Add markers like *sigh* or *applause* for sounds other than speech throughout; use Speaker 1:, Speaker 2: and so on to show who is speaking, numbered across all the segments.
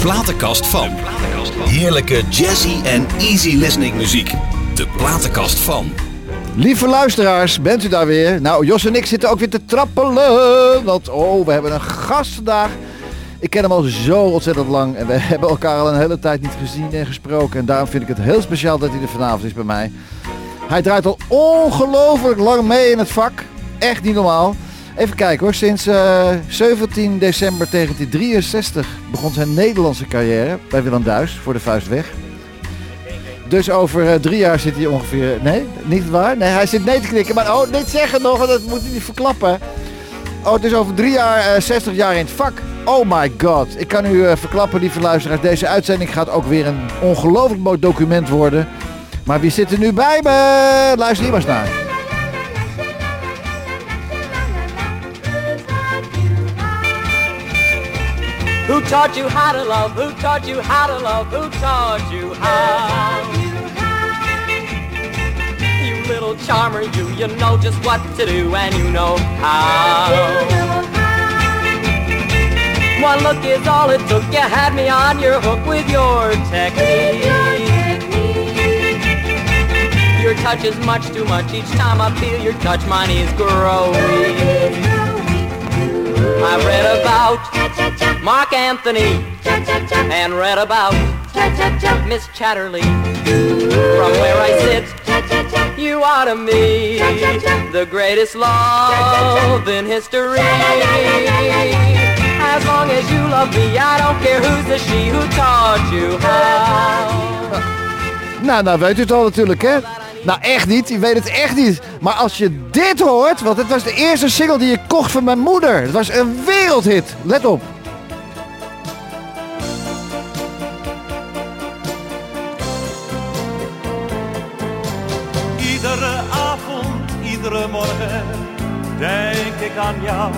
Speaker 1: platenkast van. Heerlijke jazzy en easy listening muziek. De platenkast van.
Speaker 2: Lieve luisteraars, bent u daar weer? Nou, Jos en ik zitten ook weer te trappelen. Want, oh, we hebben een gast vandaag. Ik ken hem al zo ontzettend lang en we *laughs* hebben elkaar al een hele tijd niet gezien en gesproken. En daarom vind ik het heel speciaal dat hij er vanavond is bij mij. Hij draait al ongelooflijk lang mee in het vak. Echt niet normaal. Even kijken hoor, sinds eh, 17 december 1963 begon zijn Nederlandse carrière bij Willem Duis voor de vuist weg. Dus over eh, drie jaar zit hij ongeveer. Nee, niet waar? Nee, hij zit nee te knikken. Maar oh, dit zeggen nog, want dat moet hij niet verklappen. Oh, het is over drie jaar, eh, 60 jaar in het vak. Oh my god. Ik kan u eh, verklappen, lieve luisteraars. Deze uitzending gaat ook weer een ongelooflijk mooi document worden. Maar wie zit er nu bij me? Luister hier maar eens naar.
Speaker 3: Who taught you how to love? Who taught you how to love? Who taught you how? You little charmer, you, you know just what to do and you know how. One look is all it took, you had me on your hook with your technique. Your touch is much too much, each time I feel your touch, mine is growing. I read about Mark Anthony and read about Miss Chatterley. From where I sit, you are to me the greatest love in history. As long as you love me, I don't care who's the she who taught you how.
Speaker 2: Nou, nou weet u het al natuurlijk, hè? Nou, echt niet. Je weet het echt niet. Maar als je dit hoort, want het was de eerste single die ik kocht van mijn moeder. Het was een wereldhit. Let op.
Speaker 4: Iedere avond, iedere morgen denk ik aan jou.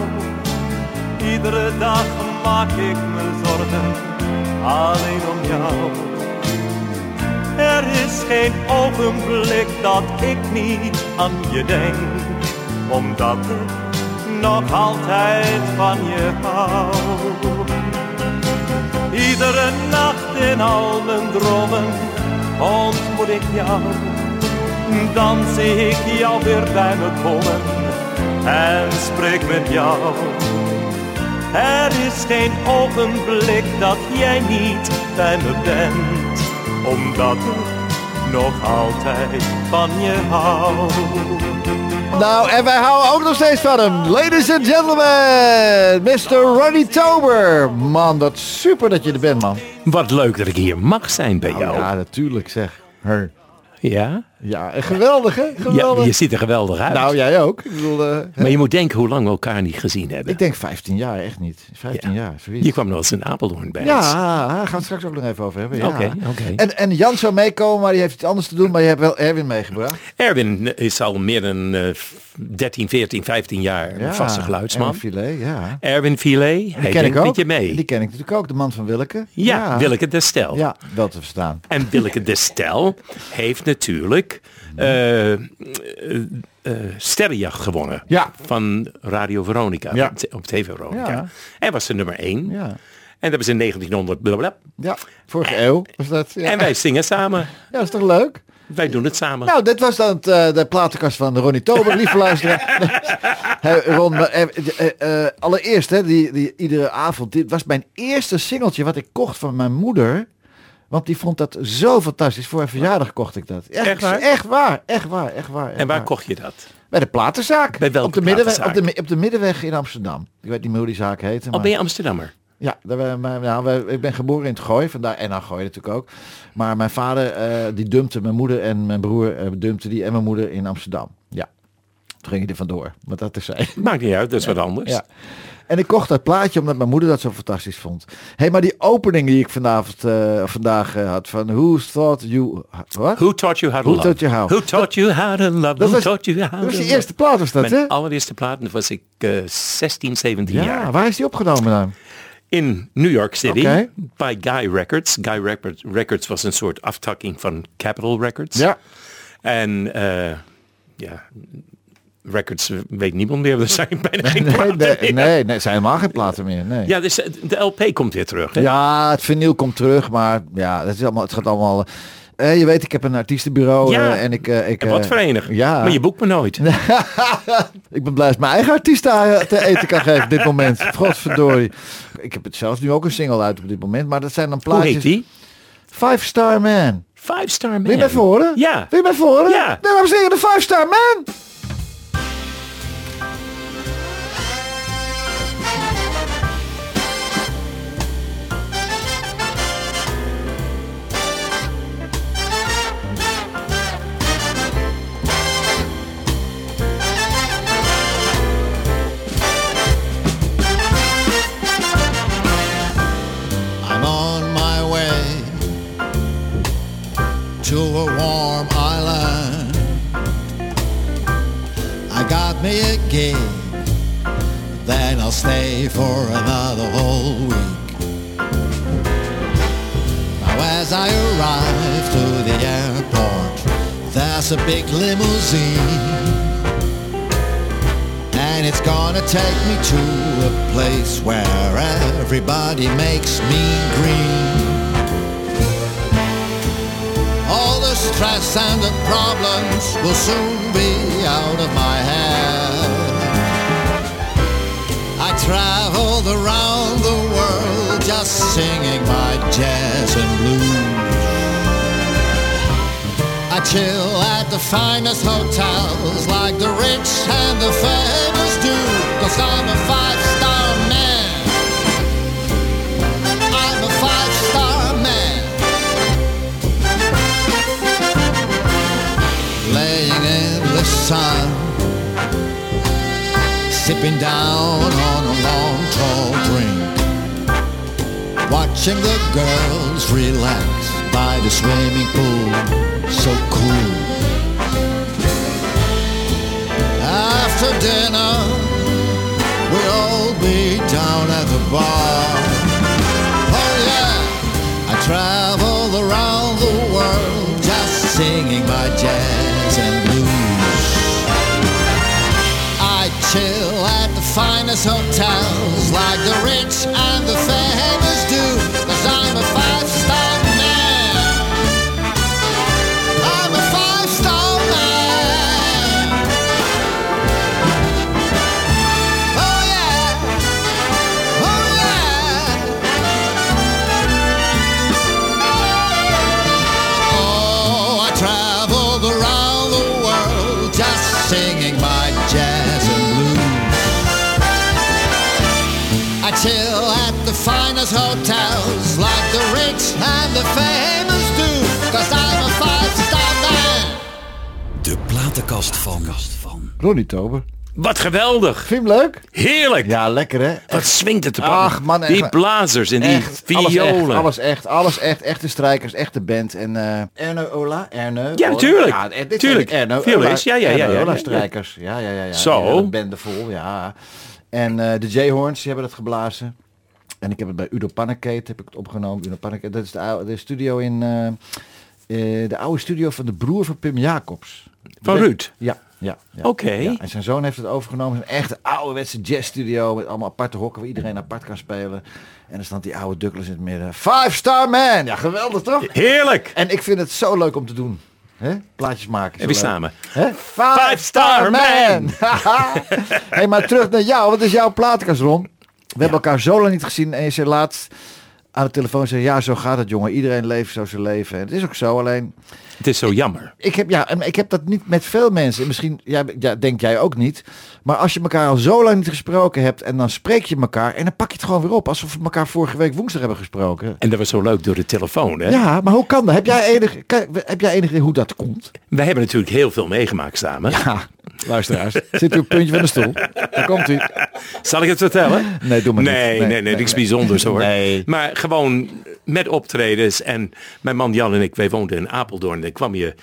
Speaker 4: Iedere dag maak ik me zorgen alleen om jou. Er is geen ogenblik dat ik niet aan je denk, omdat ik nog altijd van je hou. Iedere nacht in al mijn dromen ontmoet ik jou dan zie ik jou weer bij me komen en spreek met jou. Er is geen ogenblik dat jij niet bij me bent, omdat ik nog altijd van je hou.
Speaker 2: Nou, en wij houden ook nog steeds van hem. Ladies and gentlemen, Mr. Ronnie Tober. Man, dat is super dat je er bent, man.
Speaker 5: Wat leuk dat ik hier mag zijn bij jou.
Speaker 2: Nou Ja,
Speaker 5: Ja,
Speaker 2: natuurlijk zeg. Her.
Speaker 5: ja?
Speaker 2: Ja, en geweldig, hè? Geweldig.
Speaker 5: je ziet er geweldig uit.
Speaker 2: Nou, jij ook. Ik bedoel, eh,
Speaker 5: maar je moet denken hoe lang we elkaar niet gezien hebben.
Speaker 2: ik denk 15 jaar, echt niet. 15
Speaker 5: Ja.
Speaker 2: jaar, zoiets.
Speaker 5: Je kwam nog eens in Apeldoorn bij
Speaker 2: Ja,
Speaker 5: ons.
Speaker 2: daar gaan we het straks ook nog even over hebben. Ja.
Speaker 5: Oké, oké.
Speaker 2: En, en Jan zou meekomen, maar die heeft iets anders te doen. Maar je hebt wel Erwin meegebracht.
Speaker 5: Erwin is al meer dan eh, 13, 14, 15 jaar een vaste geluidsman.
Speaker 2: Erwin Filet, ja.
Speaker 5: Erwin Filet, hij
Speaker 2: ken ik
Speaker 5: denkt
Speaker 2: ook.
Speaker 5: met je mee.
Speaker 2: Die ken ik natuurlijk ook, de man van Willeke.
Speaker 5: ja, Willeke de Stel.
Speaker 2: Ja, wel te verstaan.
Speaker 5: En Willeke de Stel heeft
Speaker 2: *laughs*
Speaker 5: natuurlijk eh eh, eh, Sterrenjacht gewonnen.
Speaker 2: Ja.
Speaker 5: Van Radio Veronica,
Speaker 2: Ja.
Speaker 5: op t- op TV Veronica.
Speaker 2: Ja.
Speaker 5: En was de nummer 1.
Speaker 2: Ja.
Speaker 5: En dat was in 1900. blablabla.
Speaker 2: Ja, vorige eeuw was dat. Ja,
Speaker 5: En wij zingen samen.
Speaker 2: ja is toch leuk?
Speaker 5: Wij doen het samen.
Speaker 2: Nou, dit was dan het, eh, de platenkast van Ronnie Tober,
Speaker 5: *laughs*
Speaker 2: lieve luisteraar. Hey, Ron, eh, eh, eh, allereerst, hè, die, die, iedere avond, dit was mijn eerste singeltje wat ik kocht van mijn moeder. Want die vond dat zo fantastisch. Voor haar verjaardag kocht ik dat. Echt,
Speaker 5: Echt waar?
Speaker 2: Echt waar, echt waar, echt waar. echt
Speaker 5: en waar
Speaker 2: waar.
Speaker 5: kocht je dat?
Speaker 2: Bij de platenzaak.
Speaker 5: Bij welke
Speaker 2: op de middenweg, op
Speaker 5: platenzaak?
Speaker 2: de, mi- op de middenweg in Amsterdam. Ik weet niet meer hoe die zaak heette.
Speaker 5: Al
Speaker 2: Maar...
Speaker 5: Oh, ben je Amsterdammer.
Speaker 2: Ja, daar ben- maar, nou, wij- ik ben geboren in het Gooi, vandaar en aan Gooi natuurlijk ook. Maar mijn vader eh, die dumpte mijn moeder en mijn broer eh, dumpte die en mijn moeder in Amsterdam. Ja, toen ging hij er vandoor, maar dat is
Speaker 5: *laughs*
Speaker 2: zij.
Speaker 5: Maakt niet uit, dat is wat anders.
Speaker 2: Ja. En ik kocht dat plaatje omdat mijn moeder dat zo fantastisch vond. Hé, hey, maar die opening die ik vanavond, eh, vandaag eh, had van Who Thought You... Wat?
Speaker 5: Who taught you how to
Speaker 2: Who
Speaker 5: love?
Speaker 2: taught you how?
Speaker 5: Who taught you how to love?
Speaker 2: Dat
Speaker 5: Who
Speaker 2: was-
Speaker 5: taught you how
Speaker 2: Dat was
Speaker 5: to
Speaker 2: de
Speaker 5: love?
Speaker 2: eerste plaat was dat, hè?
Speaker 5: Mijn allereerste plaat en was ik eh, 16, 17
Speaker 2: Ja,
Speaker 5: jaar.
Speaker 2: waar is die opgenomen
Speaker 5: *laughs*
Speaker 2: dan?
Speaker 5: In New York City.
Speaker 2: Oké.
Speaker 5: Bij Guy Records. Guy Record- Records was een soort aftakking van Capitol Records.
Speaker 2: Ja.
Speaker 5: En eh, ja, records eh, weet niemand meer. Er zijn bijna geen
Speaker 2: Nee,
Speaker 5: platen
Speaker 2: nee,
Speaker 5: meer.
Speaker 2: nee, nee, het zijn helemaal geen platen meer. Nee.
Speaker 5: Ja, dus eh, de LP komt weer terug. Hè?
Speaker 2: Ja, het vinyl komt terug, maar ja, dat is allemaal, het gaat allemaal... eh, je weet, ik heb een artiestenbureau
Speaker 5: Ja.
Speaker 2: eh, en ik... eh, ik
Speaker 5: En wat
Speaker 2: eh,
Speaker 5: verenig.
Speaker 2: ja.
Speaker 5: Maar je boekt me nooit.
Speaker 2: ik ben blij dat ik mijn eigen artiest daar, eh, te eten kan geven op dit moment.
Speaker 5: *laughs*
Speaker 2: Godverdorie. Ik heb het zelf nu ook een single uit op dit moment, maar dat zijn dan
Speaker 5: Hoe
Speaker 2: plaatjes...
Speaker 5: heet die?
Speaker 2: Five Star Man.
Speaker 5: Five Star Man.
Speaker 2: Wil je mij even horen?
Speaker 5: Ja.
Speaker 2: Wil je mij even horen?
Speaker 5: Ja.
Speaker 2: Dames en heren, de Five Star Man.
Speaker 6: I'm on my way to a warm island. I got me a gig, then I'll stay for another whole week. Now as I arrive to the airport, there's a big limousine. And it's gonna take me to a place where everybody makes me green. All the stress and the problems will soon be out of my head. I traveled around the world just singing my jazz and blues. I chill at the finest hotels like the rich and the famous do Cause I'm a five-star man I'm a five-star man Laying in the sun Sipping down on a long tall drink Watching the girls relax by the swimming pool, so cool. After dinner, we'll all be down at the bar. Oh yeah, I travel around the world just singing my jazz and blues. I chill at the finest hotels like the rich and the famous do Cause I'm a five-star man I'm a five-star man Oh yeah, oh yeah Oh, I traveled around the world just singing my jazz and blues. I chill at the finest hotels like the rich and the famous do, cause I'm a five-star man.
Speaker 1: De platenkast van.
Speaker 2: Ronnie Tober.
Speaker 5: Wat geweldig.
Speaker 2: Vind je hem leuk?
Speaker 5: Heerlijk.
Speaker 2: Ja, lekker hè?
Speaker 5: Wat swingt het te pakken.
Speaker 2: Ach, man, echt.
Speaker 5: die blazers en
Speaker 2: Echt,
Speaker 5: die
Speaker 2: alles echt,
Speaker 5: violen.
Speaker 2: alles echt, alles echt, echte strijkers, echte band. En eh Erno Ola, Erno. Ola.
Speaker 5: natuurlijk.
Speaker 2: Ja, eh, dit
Speaker 5: Tuurlijk.
Speaker 2: zijn Erno
Speaker 5: Violist,
Speaker 2: Ola,
Speaker 5: ja, ja, ja,
Speaker 2: Erno
Speaker 5: ja,
Speaker 2: Ola
Speaker 5: ja, ja.
Speaker 2: strijkers, ja, ja, ja. ja.
Speaker 5: Zo.
Speaker 2: Die hele bende vol, ja. En eh, de J-Horns, die hebben dat geblazen. En ik heb het bij Udo Pannekate, heb ik het opgenomen. Udo Pannekate, dat is de, oude- de studio in, eh, eh, de oude studio van de broer van Pim Jacobs.
Speaker 5: Van Ruud.
Speaker 2: Ja. Ja, ja.
Speaker 5: Oké.
Speaker 2: Ja, en zijn zoon heeft het overgenomen. Een echte ouderwetse jazzstudio met allemaal aparte hokken waar iedereen apart kan spelen. En dan staat die oude Douglas in het midden. Five Star Man! Ja, geweldig toch?
Speaker 5: Heerlijk.
Speaker 2: En ik vind het zo leuk om te doen. hè? Plaatjes maken.
Speaker 5: En weer
Speaker 2: samen.
Speaker 5: samen.
Speaker 2: Hè? Five,
Speaker 5: Star Man.
Speaker 2: *laughs* hey, maar terug naar jou. Wat is jouw plaatkast, Ron? We hebben elkaar zo lang niet gezien. En je zei laatst aan de telefoon, zei, ja, zo gaat het, jongen. Iedereen leeft zo zijn leven. En het is ook zo, alleen...
Speaker 5: Het is zo jammer.
Speaker 2: Ik heb, ja, en ik heb dat niet met veel mensen. Misschien ja, ja, denk jij ook niet. Maar als je elkaar al zo lang niet gesproken hebt... en dan spreek je elkaar en dan pak je het gewoon weer op. Alsof we elkaar vorige week woensdag hebben gesproken.
Speaker 5: En dat was zo leuk door de telefoon. Hè?
Speaker 2: Ja, maar hoe kan dat? Heb jij enig, kan- heb jij enig idee hoe dat komt?
Speaker 5: Wij hebben natuurlijk heel veel meegemaakt samen.
Speaker 2: Ha, luisteraars, *laughs* zit u op het puntje van de stoel? Daar komt u.
Speaker 5: Zal ik het vertellen?
Speaker 2: Nee, doe maar niet.
Speaker 5: nee,
Speaker 2: Nee,
Speaker 5: Nee, nee,
Speaker 2: nee,
Speaker 5: niks
Speaker 2: nee.
Speaker 5: bijzonders hoor.
Speaker 2: Nee.
Speaker 5: Maar gewoon met optredens. En mijn man Jan en ik, wij woonden in Apeldoorn. En ik kwam je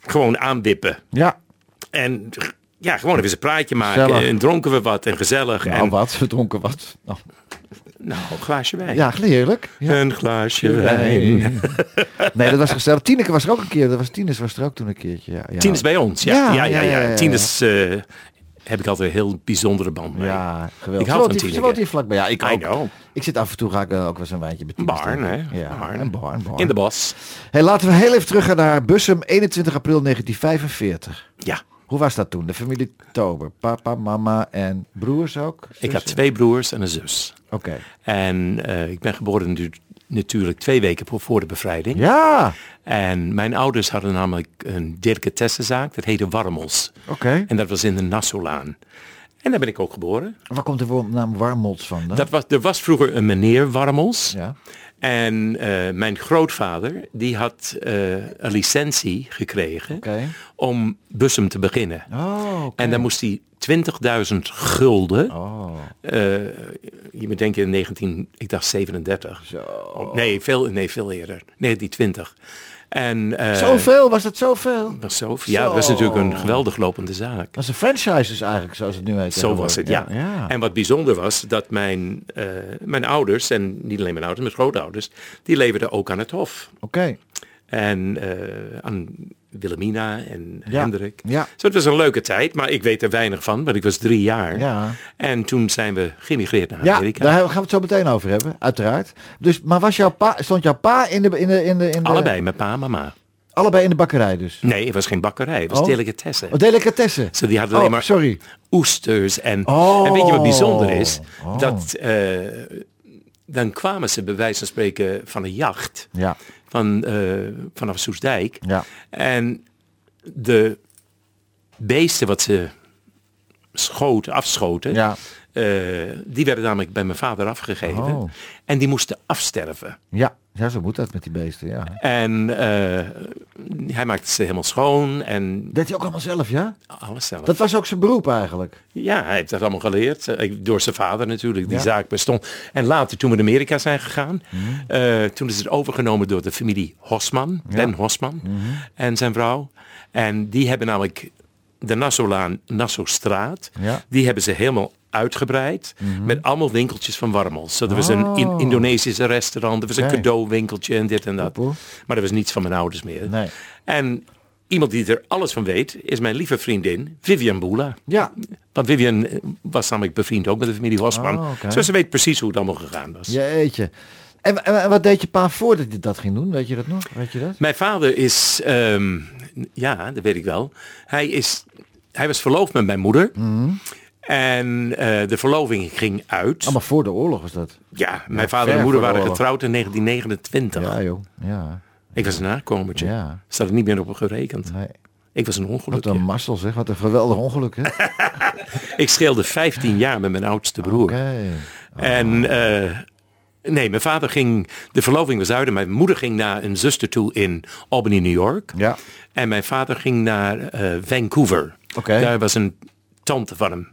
Speaker 5: gewoon aanwippen.
Speaker 2: Ja,
Speaker 5: En ja, gewoon even een praatje maken.
Speaker 2: Gezellig.
Speaker 5: En dronken we wat en gezellig.
Speaker 2: nou
Speaker 5: en,
Speaker 2: wat, we dronken wat. Nou,
Speaker 5: nou, een glaasje wijn.
Speaker 2: ja, heerlijk. Ja.
Speaker 5: Een glaasje wijn.
Speaker 2: Nee, dat was gezellig. Tineke was er ook een keer. Dat was Tines was er ook toen een keertje. Ja, ja.
Speaker 5: Tien is bij ons. Ja, ja, ja. ja,
Speaker 2: Ja, ja, ja, ja.
Speaker 5: Tien is eh, heb ik altijd een heel bijzondere band mee.
Speaker 2: Ja, geweldig.
Speaker 5: Ik hou
Speaker 2: Ze woont
Speaker 5: van
Speaker 2: hier- Ze
Speaker 5: Tineke.
Speaker 2: woont hier vlakbij. Ja, ik
Speaker 5: I
Speaker 2: ook.
Speaker 5: know.
Speaker 2: Ik zit af en toe ga ik eh, ook wel eens een wijntje bij Tineke
Speaker 5: Barn,
Speaker 2: drinken.
Speaker 5: hè?
Speaker 2: Ja,
Speaker 5: Barn.
Speaker 2: een barn, barn.
Speaker 5: In de bos.
Speaker 2: Hey, laten we heel even teruggaan naar Bussum, 21 april 1945.
Speaker 5: Ja.
Speaker 2: Hoe was dat toen? De familie Tober, papa, mama en broers ook?
Speaker 5: Ik had
Speaker 2: Zussen?
Speaker 5: twee broers en een zus.
Speaker 2: Oké.
Speaker 5: En eh, ik ben geboren nu, natuurlijk twee weken voor, voor de bevrijding.
Speaker 2: Ja,
Speaker 5: En mijn ouders hadden namelijk een delicatessenzaak. Dat heette Warmels.
Speaker 2: oké.
Speaker 5: En dat was in de Nassaulaan. En daar ben ik ook geboren.
Speaker 2: Waar komt de wo- naam Warmots van? dan?
Speaker 5: Dat was, er was vroeger een meneer Warmels.
Speaker 2: Ah. Ja.
Speaker 5: En eh, mijn grootvader, die had eh, een licentie gekregen
Speaker 2: Oké.
Speaker 5: om Bussum te beginnen.
Speaker 2: Oh, oké.
Speaker 5: En dan moest hij 20.000 gulden,
Speaker 2: Oh,
Speaker 5: eh, je moet denken in 19, ik dacht 37. Oh, Nee, veel, nee, veel eerder, 1920. En, eh
Speaker 2: zoveel? Was dat zoveel?
Speaker 5: was zo, ja, dat was
Speaker 2: Zo.
Speaker 5: natuurlijk een geweldig lopende zaak.
Speaker 2: Dat is een franchise dus eigenlijk, zoals het nu heet.
Speaker 5: Zo was het, ja.
Speaker 2: ja.
Speaker 5: En wat bijzonder was, dat mijn, eh, mijn ouders, en niet alleen mijn ouders, mijn grootouders, die leverden ook aan het hof.
Speaker 2: Oké.
Speaker 5: En eh, aan Wilhelmina en
Speaker 2: Ja,
Speaker 5: Hendrik.
Speaker 2: ja.
Speaker 5: Zo, het was een leuke tijd, maar ik weet er weinig van, want ik was drie jaar.
Speaker 2: Ja.
Speaker 5: En toen zijn we geëmigreerd naar
Speaker 2: Ja,
Speaker 5: Amerika.
Speaker 2: daar gaan we het zo meteen over hebben, uiteraard. Dus, maar was jouw pa, stond jouw pa in de, in de, in de, in de
Speaker 5: Allebei, mijn pa en mama.
Speaker 2: allebei in de bakkerij dus?
Speaker 5: Nee, het was geen bakkerij, het was
Speaker 2: Oh.
Speaker 5: delicatessen.
Speaker 2: Oh, delicatessen.
Speaker 5: Ze die hadden
Speaker 2: Oh,
Speaker 5: alleen maar
Speaker 2: sorry.
Speaker 5: oesters en,
Speaker 2: Oh.
Speaker 5: en weet je wat bijzonder is?
Speaker 2: Oh.
Speaker 5: Dat eh, dan kwamen ze bij wijze van spreken van een jacht
Speaker 2: Ja,
Speaker 5: van, eh, vanaf Soesdijk.
Speaker 2: ja.
Speaker 5: En de beesten wat ze schoten, afschoten,
Speaker 2: Ja.
Speaker 5: eh, die werden namelijk bij mijn vader afgegeven.
Speaker 2: Oh.
Speaker 5: En die moesten afsterven.
Speaker 2: Ja, ja, zo moet dat met die beesten, ja.
Speaker 5: En eh, hij maakte ze helemaal schoon en
Speaker 2: Deed hij ook allemaal zelf, ja?
Speaker 5: alles zelf.
Speaker 2: Dat was ook zijn beroep eigenlijk.
Speaker 5: Ja, hij heeft dat allemaal geleerd. Eh, ik- Door zijn vader natuurlijk, die
Speaker 2: Ja. Mhm.
Speaker 5: zaak bestond. En later, toen we naar Amerika zijn gegaan, eh, toen is het overgenomen door de familie Hosman, Ben Hosman
Speaker 2: Mhm.
Speaker 5: en zijn vrouw. En die hebben namelijk de Nassaulaan, Nassaustraat,
Speaker 2: Ja. Mhm.
Speaker 5: die hebben ze helemaal uitgebreid met allemaal winkeltjes van warmels. Zo, er was een in- Indonesische restaurant, er was
Speaker 2: Oh. Oké.
Speaker 5: een cadeauwinkeltje en dit en dat.
Speaker 2: Poepoe.
Speaker 5: Maar er was niets van mijn ouders meer.
Speaker 2: Nee.
Speaker 5: En iemand die er alles van weet, is mijn lieve vriendin Vivian Boela.
Speaker 2: Ja,
Speaker 5: Want Vivian eh, was namelijk bevriend ook met de familie Hosman.
Speaker 2: Oh, oké.
Speaker 5: Dus ze weet precies hoe het allemaal gegaan was.
Speaker 2: jeetje. En, en, en wat deed je pa voordat hij dat ging doen? Weet je dat nog? Weet je dat?
Speaker 5: Mijn vader is, ehm, ja, dat weet ik wel. Hij, is, hij was verloofd met mijn moeder. En eh, de verloving ging uit.
Speaker 2: Mm. Allemaal Ah, voor de oorlog was dat.
Speaker 5: ja, mijn
Speaker 2: Ja,
Speaker 5: vader en
Speaker 2: ver
Speaker 5: moeder
Speaker 2: voor de
Speaker 5: waren
Speaker 2: oorlog.
Speaker 5: getrouwd in 1929.
Speaker 2: Ja, joh. Ja.
Speaker 5: Ik was een nakomertje.
Speaker 2: Ja.
Speaker 5: Ze hadden niet meer op me gerekend.
Speaker 2: Nee.
Speaker 5: Ik was een
Speaker 2: Wat
Speaker 5: ongelukje.
Speaker 2: een mazzel zeg. Wat een geweldig
Speaker 5: *laughs*
Speaker 2: ongeluk, hè? Oké.
Speaker 5: Ik scheelde 15 jaar met mijn oudste broer. En eh, nee, mijn vader ging, de verloving was uit en mijn moeder ging naar een zuster toe in Albany, New York.
Speaker 2: Ja.
Speaker 5: En mijn vader ging naar eh, Vancouver.
Speaker 2: Oké.
Speaker 5: Daar was een tante van hem.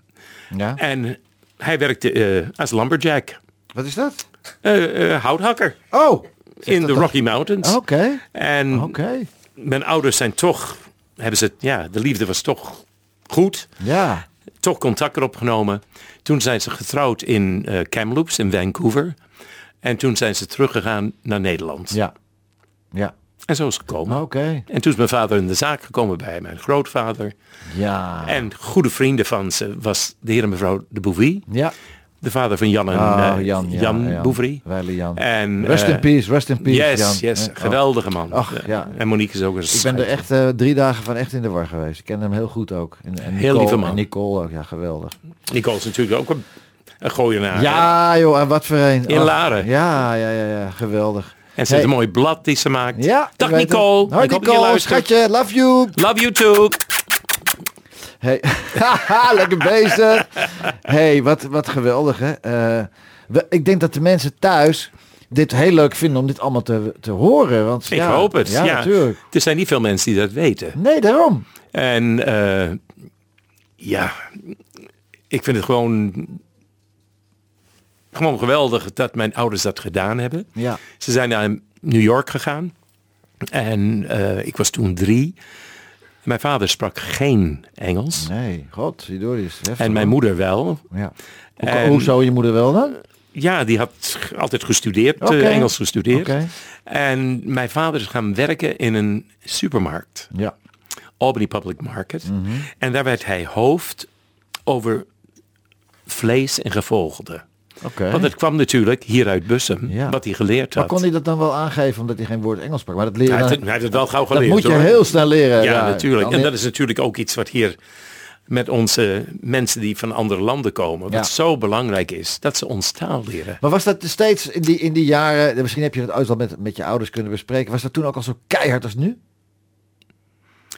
Speaker 2: Ja.
Speaker 5: En hij werkte eh, als lumberjack,
Speaker 2: Wat is dat?
Speaker 5: Eh, eh, houthakker
Speaker 2: Oh!
Speaker 5: in de Rocky Mountains.
Speaker 2: Ah, Oké. Ah,
Speaker 5: En
Speaker 2: Oké.
Speaker 5: mijn ouders zijn toch, hebben ze, ja, de liefde was toch goed.
Speaker 2: Ja.
Speaker 5: toch contact erop genomen. Toen zijn ze getrouwd in eh Kamloops in Vancouver. En toen zijn ze teruggegaan naar Nederland.
Speaker 2: Ja. Ja.
Speaker 5: En zo is het gekomen.
Speaker 2: Oké.
Speaker 5: En toen is mijn vader in de zaak gekomen bij mijn grootvader.
Speaker 2: Ja.
Speaker 5: En goede vrienden van ze was de heer en mevrouw de Bouvie.
Speaker 2: Ja.
Speaker 5: De vader van Jan en
Speaker 2: Ah,
Speaker 5: eh,
Speaker 2: Jan, ja, Jan.
Speaker 5: Bouvry.
Speaker 2: Wijlen Jan.
Speaker 5: En,
Speaker 2: Rest in
Speaker 5: eh,
Speaker 2: peace, rest in peace,
Speaker 5: Yes,
Speaker 2: Jan.
Speaker 5: yes.
Speaker 2: Eh, oh.
Speaker 5: Geweldige man.
Speaker 2: Ach, ja.
Speaker 5: En Monique is ook een
Speaker 2: Ik ben er
Speaker 5: schijf.
Speaker 2: echt eh, drie dagen van echt in de war geweest. Ik ken hem heel goed ook. En, en
Speaker 5: Heel
Speaker 2: Nicole-
Speaker 5: lieve man.
Speaker 2: En Nicole ook, ja, geweldig.
Speaker 5: eh, Nicole is natuurlijk ook een, een gooienaar.
Speaker 2: Ja, joh, en wat voor een.
Speaker 5: Ah, In
Speaker 2: Ach,
Speaker 5: Laren.
Speaker 2: Ja, ja, ja, ja, geweldig.
Speaker 5: En ze heeft een mooi blad die ze maakt.
Speaker 2: Ja,
Speaker 5: Dag
Speaker 2: ik weet het.
Speaker 5: Nicole.
Speaker 2: Hoi
Speaker 5: Ik hoop dat je
Speaker 2: Nicole,
Speaker 5: luistert.
Speaker 2: schatje, love you.
Speaker 5: Love you too.
Speaker 2: Hey. *laughs* Haha, lekker bezig. hey, wat, wat geweldig hè. Eh, we- ik denk dat de mensen thuis dit heel leuk vinden om dit allemaal te, te horen. Want,
Speaker 5: Ik
Speaker 2: ja,
Speaker 5: hoop het. Ja,
Speaker 2: ja, natuurlijk.
Speaker 5: Er zijn niet veel mensen die dat weten.
Speaker 2: Nee, daarom.
Speaker 5: En eh, ja, ik vind het gewoon, gewoon geweldig dat mijn ouders dat gedaan hebben.
Speaker 2: Ja.
Speaker 5: Ze zijn naar New York gegaan. En eh, ik was toen drie. Mijn vader sprak geen Engels.
Speaker 2: Nee, god, die door is heftig.
Speaker 5: En mijn
Speaker 2: hoor.
Speaker 5: moeder wel.
Speaker 2: Ja. Hoe,
Speaker 5: En-
Speaker 2: hoezo je moeder wel dan?
Speaker 5: Ja, die had altijd gestudeerd, eh,
Speaker 2: Oké.
Speaker 5: Engels gestudeerd.
Speaker 2: Oké.
Speaker 5: En mijn vader is gaan werken in een supermarkt.
Speaker 2: Ja. Mhm.
Speaker 5: Albany Public Market. En daar werd hij hoofd over vlees en gevogelte.
Speaker 2: Oké.
Speaker 5: Want het kwam natuurlijk hier uit Bussum,
Speaker 2: Ja.
Speaker 5: wat hij geleerd
Speaker 2: Maar
Speaker 5: had.
Speaker 2: kon hij dat dan wel aangeven omdat hij geen woord Engels sprak? Maar dat leren
Speaker 5: hij, heeft
Speaker 2: dan-
Speaker 5: het, hij heeft het wel gauw
Speaker 2: dat
Speaker 5: geleerd.
Speaker 2: moet je
Speaker 5: hoor.
Speaker 2: heel snel leren.
Speaker 5: Ja, natuurlijk.
Speaker 2: Dan
Speaker 5: En
Speaker 2: leer-
Speaker 5: dat is natuurlijk ook iets wat hier met onze mensen die van andere landen komen,
Speaker 2: Ja.
Speaker 5: wat zo belangrijk is, dat ze ons taal leren.
Speaker 2: Maar was dat steeds in die, in die jaren, misschien heb je het uitland met, met je ouders kunnen bespreken, was dat toen ook al zo keihard als nu?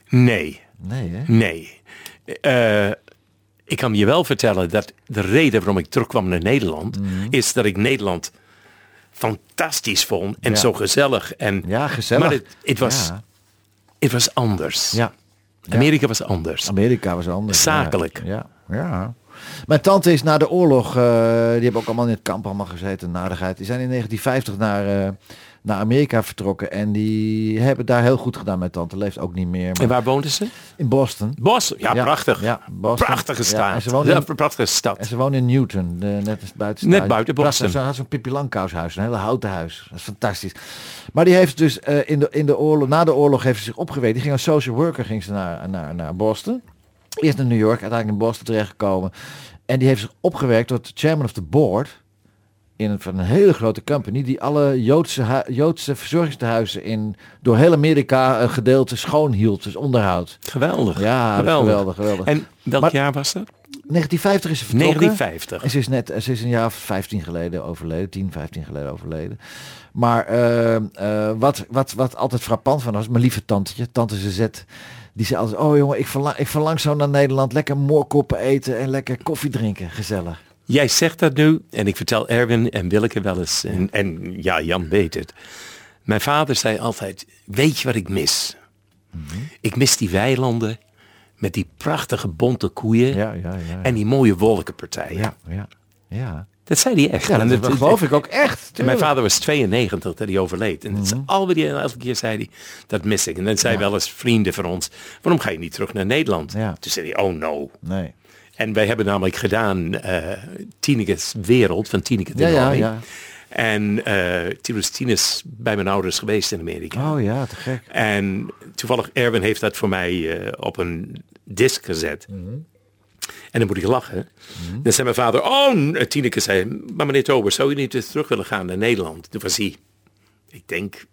Speaker 5: Nee,
Speaker 2: Nee, hè?
Speaker 5: nee. Eh, ik kan je wel vertellen dat de reden waarom ik terugkwam naar Nederland,
Speaker 2: Mhm.
Speaker 5: is dat ik Nederland fantastisch vond en
Speaker 2: Ja.
Speaker 5: zo gezellig. En,
Speaker 2: Ja, gezellig.
Speaker 5: Maar het, het was,
Speaker 2: Ja,
Speaker 5: het was anders.
Speaker 2: ja.
Speaker 5: Amerika was anders.
Speaker 2: Amerika was anders. ja.
Speaker 5: Zakelijk.
Speaker 2: Ja. ja. Mijn tante is na de oorlog, eh, die hebben ook allemaal in het kamp allemaal gezeten, nadigheid. Die zijn in 1950 naar, eh, naar Amerika vertrokken en die hebben daar heel goed gedaan. Mijn tante leeft ook niet meer,
Speaker 5: En
Speaker 2: maar
Speaker 5: waar woonden ze?
Speaker 2: in Boston.
Speaker 5: Bos. Ja,
Speaker 2: Ja,
Speaker 5: prachtig.
Speaker 2: ja, Boston.
Speaker 5: prachtige
Speaker 2: Ja, en
Speaker 5: staat.
Speaker 2: ze
Speaker 5: Ja,
Speaker 2: woonde in-
Speaker 5: een prachtige stad.
Speaker 2: En ze woont in Newton, eh, net als buiten
Speaker 5: Net
Speaker 2: Staat.
Speaker 5: buiten Boston.
Speaker 2: Prachtig, Ze had zo'n Pippi Langkous-huis, een hele houten huis. Dat is fantastisch. Maar die heeft dus eh, in de, in de oorlog, na de oorlog heeft ze zich opgewezen. Die ging als social worker ging ze naar, naar, naar Boston. Eerst naar New York, uiteindelijk in Boston terechtgekomen. En die heeft zich opgewerkt tot chairman of the board in een, van een hele grote company die alle Joodse, hu- Joodse verzorgingstehuizen in door heel Amerika een gedeelte schoon hield, dus onderhoud.
Speaker 5: Geweldig.
Speaker 2: Ja, dat is geweldig, geweldig.
Speaker 5: En welk
Speaker 2: Maar-
Speaker 5: jaar was dat?
Speaker 2: 1950 is ze vertrokken.
Speaker 5: 1950.
Speaker 2: En ze is net, ze is een jaar of 15 geleden overleden, 10, 15 geleden overleden. Maar eh, eh, wat, wat, wat altijd frappant van was, mijn lieve tantetje, tante Zet, die zei altijd, oh jongen, ik verlang, ik verlang zo naar Nederland, lekker moorkoppen eten en lekker koffie drinken, gezellig.
Speaker 5: Jij zegt dat nu en ik vertel Erwin en Willeke wel eens. En, en ja, Jan weet het. Mijn vader zei altijd, weet je wat ik mis?
Speaker 2: Mhm.
Speaker 5: Ik mis die weilanden met die prachtige bonte koeien
Speaker 2: Ja, ja, ja, ja.
Speaker 5: en die mooie wolkenpartijen.
Speaker 2: ja, ja.
Speaker 5: Dat zei hij echt.
Speaker 2: Ja,
Speaker 5: En
Speaker 2: dat,
Speaker 5: het-
Speaker 2: geloof ik ook echt.
Speaker 5: En mijn
Speaker 2: tuurlijk.
Speaker 5: vader was 92 dat hij overleed. En het
Speaker 2: Mhm.
Speaker 5: is alweer die- elke keer zei hij, dat mis ik. En dan zei wel eens vrienden van ons, waarom ga je niet terug naar Nederland?
Speaker 2: Ja.
Speaker 5: Toen zei hij, oh no.
Speaker 2: Nee.
Speaker 5: En wij hebben namelijk gedaan eh Tineke's Wereld van Tineke de
Speaker 2: Ja, ja,
Speaker 5: Nooi.
Speaker 2: ja.
Speaker 5: En eh toen is Tine is bij mijn ouders geweest in Amerika.
Speaker 2: Oh ja, te gek.
Speaker 5: En toevallig Erwin heeft dat voor mij eh, op een disc gezet.
Speaker 2: Mhm.
Speaker 5: En dan moet ik lachen. Dan zei mijn vader, oh, n- Tineke zei, maar meneer Tober, zou u niet eens terug willen gaan naar Nederland? Toen was hij, ik denk,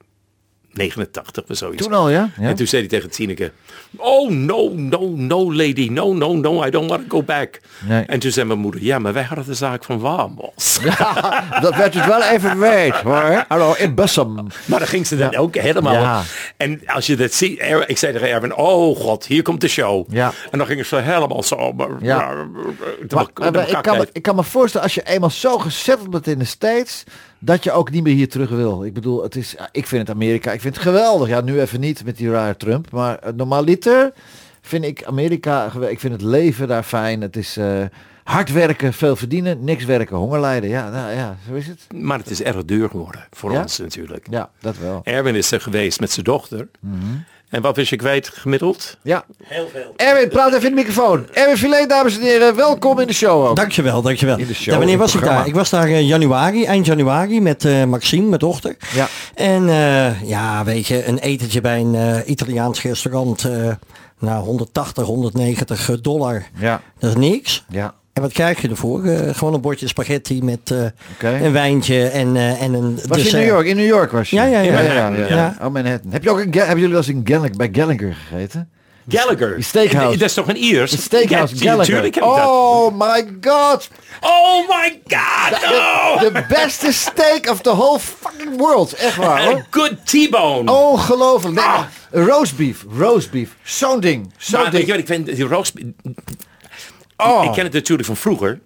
Speaker 5: 89 of zoiets.
Speaker 2: Toen al, ja? ja?
Speaker 5: En toen zei hij tegen Tineke, oh no, no, no lady, no, no, no, I don't want to go back.
Speaker 2: Nee.
Speaker 5: En toen zei mijn moeder, ja, maar wij hadden de zaak van Wamos.
Speaker 2: Dat werd het wel even weet hoor. Hallo, in Bussum.
Speaker 5: *laughs* Maar dan ging ze dan
Speaker 2: Ja.
Speaker 5: ook helemaal.
Speaker 2: Ja.
Speaker 5: En als je dat ziet, Er- ik zei tegen Erwin, oh god, hier komt de show.
Speaker 2: Ja.
Speaker 5: En dan gingen ze helemaal zo. maar-
Speaker 2: Ja.
Speaker 5: maar- te
Speaker 2: Maar,
Speaker 5: elkaar-
Speaker 2: maar
Speaker 5: te
Speaker 2: ik,
Speaker 5: elkaar
Speaker 2: kan me,
Speaker 5: kijken.
Speaker 2: ik kan me voorstellen, als je eenmaal zo gezetteld bent in de States, dat je ook niet meer hier terug wil. Ik bedoel, het is, ik vind het Amerika, ik vind het geweldig. Ja, nu even niet met die rare Trump, maar eh, normaaliter vind ik Amerika, gewe- ik vind het leven daar fijn. Het is eh, hard werken, veel verdienen, niks werken, honger lijden. Ja, nou ja, zo is het.
Speaker 5: Maar het is erg duur geworden voor
Speaker 2: Ja?
Speaker 5: ons natuurlijk.
Speaker 2: Ja, Mhm. dat wel.
Speaker 5: Erwin is er geweest met zijn dochter. En wat is je kwijt gemiddeld?
Speaker 2: Ja. Heel veel. Erwin, praat even in de microfoon. Erwin Filet, dames en heren, welkom in de show ook.
Speaker 7: Dankjewel, dankjewel.
Speaker 2: In de show,
Speaker 7: ja,
Speaker 2: in
Speaker 7: wanneer
Speaker 2: het
Speaker 7: was ik
Speaker 2: programma.
Speaker 7: daar? Ik was daar eh, januari, eind januari met eh, Maxime, mijn dochter.
Speaker 2: Ja.
Speaker 7: En eh, ja, weet je, een etentje bij een eh, Italiaans restaurant. eh nou, 180, 190 eh, dollar.
Speaker 2: Ja.
Speaker 7: Dat is niks.
Speaker 2: Ja.
Speaker 7: En wat krijg je ervoor? Eh, gewoon een bordje spaghetti met eh,
Speaker 2: Oké.
Speaker 7: een wijntje en, eh, en een
Speaker 2: Was je
Speaker 5: Dus,
Speaker 2: in
Speaker 7: dessert.
Speaker 2: New York? In New York was je?
Speaker 7: Ja, ja, ja. Ja.
Speaker 2: Oh, Manhattan. Heb je ook een, Ga- hebben jullie wel eens in Gallic, bij Gallagher gegeten?
Speaker 5: Gallagher. eh,
Speaker 2: Die steakhouse.
Speaker 5: Dat is toch een Iers?
Speaker 2: Het steakhouse
Speaker 5: Ja,
Speaker 2: Gallagher.
Speaker 5: Natuurlijk heb ik dat.
Speaker 2: oh my god.
Speaker 5: Oh my god. oh. no!
Speaker 2: eh, De beste steak of the whole fucking world. Echt waar
Speaker 5: Een
Speaker 2: hoor.
Speaker 5: good
Speaker 2: Oh,
Speaker 5: T-bone.
Speaker 2: Ongelooflijk. Nee, maar roast beef. Roast beef. Zo'n ding. Zo'n
Speaker 5: Ah. Maar weet je
Speaker 2: ding.
Speaker 5: wat, ik vind die roast...
Speaker 2: Oh.
Speaker 5: Ik ken het natuurlijk van vroeger.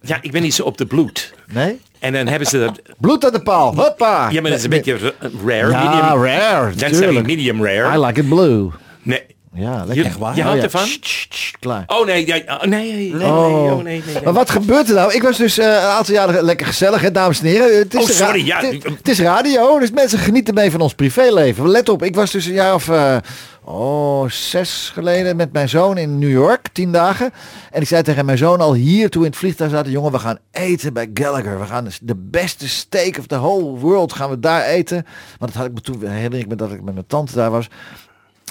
Speaker 5: Ja, ik ben niet zo op de bloed.
Speaker 2: Nee?
Speaker 5: En dan hebben ze dat...
Speaker 2: Bloed aan de paal. Hoppa.
Speaker 5: Ja, maar dat is een
Speaker 2: Ah, Nee,
Speaker 5: beetje ra- rare.
Speaker 2: Ja,
Speaker 5: medium.
Speaker 2: rare,
Speaker 5: Dan zeg ik
Speaker 2: tuurlijk.
Speaker 5: medium
Speaker 2: nee. I
Speaker 5: rare.
Speaker 2: like it blue.
Speaker 5: Nee.
Speaker 2: Ja,
Speaker 5: Je,
Speaker 2: lekker.
Speaker 5: je
Speaker 7: waar?
Speaker 5: houdt
Speaker 2: Oh, ja.
Speaker 5: ervan?
Speaker 2: Sst, sst, sst, klaar.
Speaker 5: Oh nee, ja, oh, nee, nee, nee,
Speaker 2: Oh.
Speaker 5: oh, nee, nee, nee.
Speaker 2: Maar wat gebeurt er nou? Ik was dus eh, een aantal jaren lekker gezellig, hè, dames en heren. Het is
Speaker 5: Oh, sorry,
Speaker 2: ra-
Speaker 5: ja.
Speaker 2: Het, het is radio, dus mensen genieten mee van ons privéleven. Let op, ik was dus een jaar of eh, oh, zes geleden met mijn zoon in New York, tien dagen. En ik zei tegen mijn zoon al hier toen we in het vliegtuig zaten, jongen, we gaan eten bij Gallagher. We gaan dus de beste steak of the whole world gaan we daar eten. Want dat had ik me toen herinner ik me dat ik met mijn tante daar was.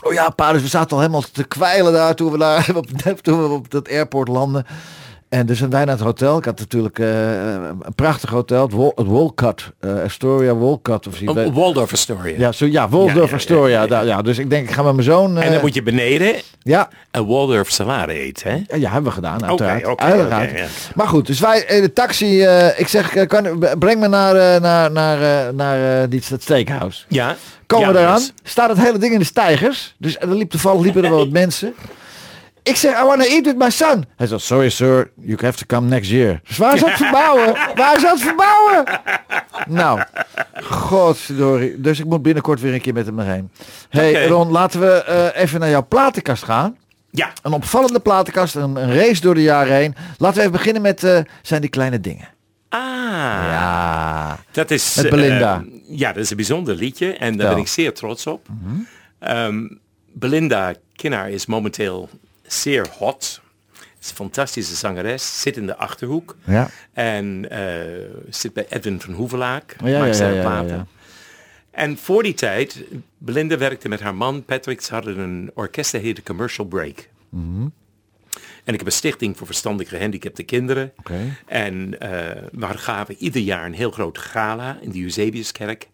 Speaker 2: Oh ja, pa, dus we zaten al helemaal te kwijlen daar toen we, daar, *laughs* op, toen we op dat airport landden. En dus zijn wij naar het hotel. Ik had natuurlijk eh, een prachtig hotel, het, Wol het Wolcott, eh, Astoria Wolcott of zoiets.
Speaker 5: Een Waldorf Astoria.
Speaker 2: Ja, zo, ja, Waldorf
Speaker 5: Oh, Ja, ja, ja,
Speaker 2: Astoria.
Speaker 5: ja, ja.
Speaker 2: daar- ja, dus ik denk, ik ga met mijn zoon...
Speaker 5: En
Speaker 2: eh,
Speaker 5: dan moet je beneden
Speaker 2: Ja,
Speaker 5: een Waldorf salade eten, hè?
Speaker 2: Ja, ja, hebben we gedaan, uiteraard.
Speaker 5: oké,
Speaker 2: Uiteraard.
Speaker 5: oké, ja.
Speaker 2: Maar goed, dus wij in de taxi. eh, ik zeg, eh, kan, breng me naar, eh, naar, naar, eh, naar eh, die, dat steakhouse.
Speaker 5: Ja.
Speaker 2: Komen
Speaker 5: ja,
Speaker 2: we eraan,
Speaker 5: yes.
Speaker 2: staat het hele ding in de stijgers. Dus er liep toevallig liepen er wel
Speaker 5: *laughs*
Speaker 2: wat mensen. Ik zeg, I want to eat with my son. Hij zegt, sorry sir, you have to come next year. Dus waar is
Speaker 5: *laughs*
Speaker 2: dat verbouwen? Waar is dat verbouwen? Nou, godverdorie. Dus ik moet binnenkort weer een keer met hem erheen. hey,
Speaker 5: Oké.
Speaker 2: Ron, laten we eh, even naar jouw platenkast gaan.
Speaker 5: Ja.
Speaker 2: Een opvallende platenkast, een, een race door de jaren heen. Laten we even beginnen met eh, zijn die kleine dingen.
Speaker 5: Ah.
Speaker 2: Ja.
Speaker 5: Dat is,
Speaker 2: Met Belinda.
Speaker 5: eh, ja, dat is een bijzonder liedje en daar
Speaker 2: Ja. Mhm.
Speaker 5: ben ik zeer trots op. Ehm, Belinda Kinnaar is momenteel zeer hot. Is een fantastische zangeres, zit in de Achterhoek.
Speaker 2: Ja.
Speaker 5: En eh, zit bij Edwin van Hoevelaak,
Speaker 2: Oh, ja,
Speaker 5: maakt
Speaker 2: ja,
Speaker 5: zijn
Speaker 2: ja, ja,
Speaker 5: platen.
Speaker 2: ja.
Speaker 5: En voor die tijd, Belinda werkte met haar man Patrick. Ze hadden een orkest dat heette Commercial Break. En ik heb een stichting voor verstandig gehandicapte kinderen.
Speaker 2: Oké.
Speaker 5: En eh daar gaven we ieder jaar een heel groot gala in de Eusebiuskerk.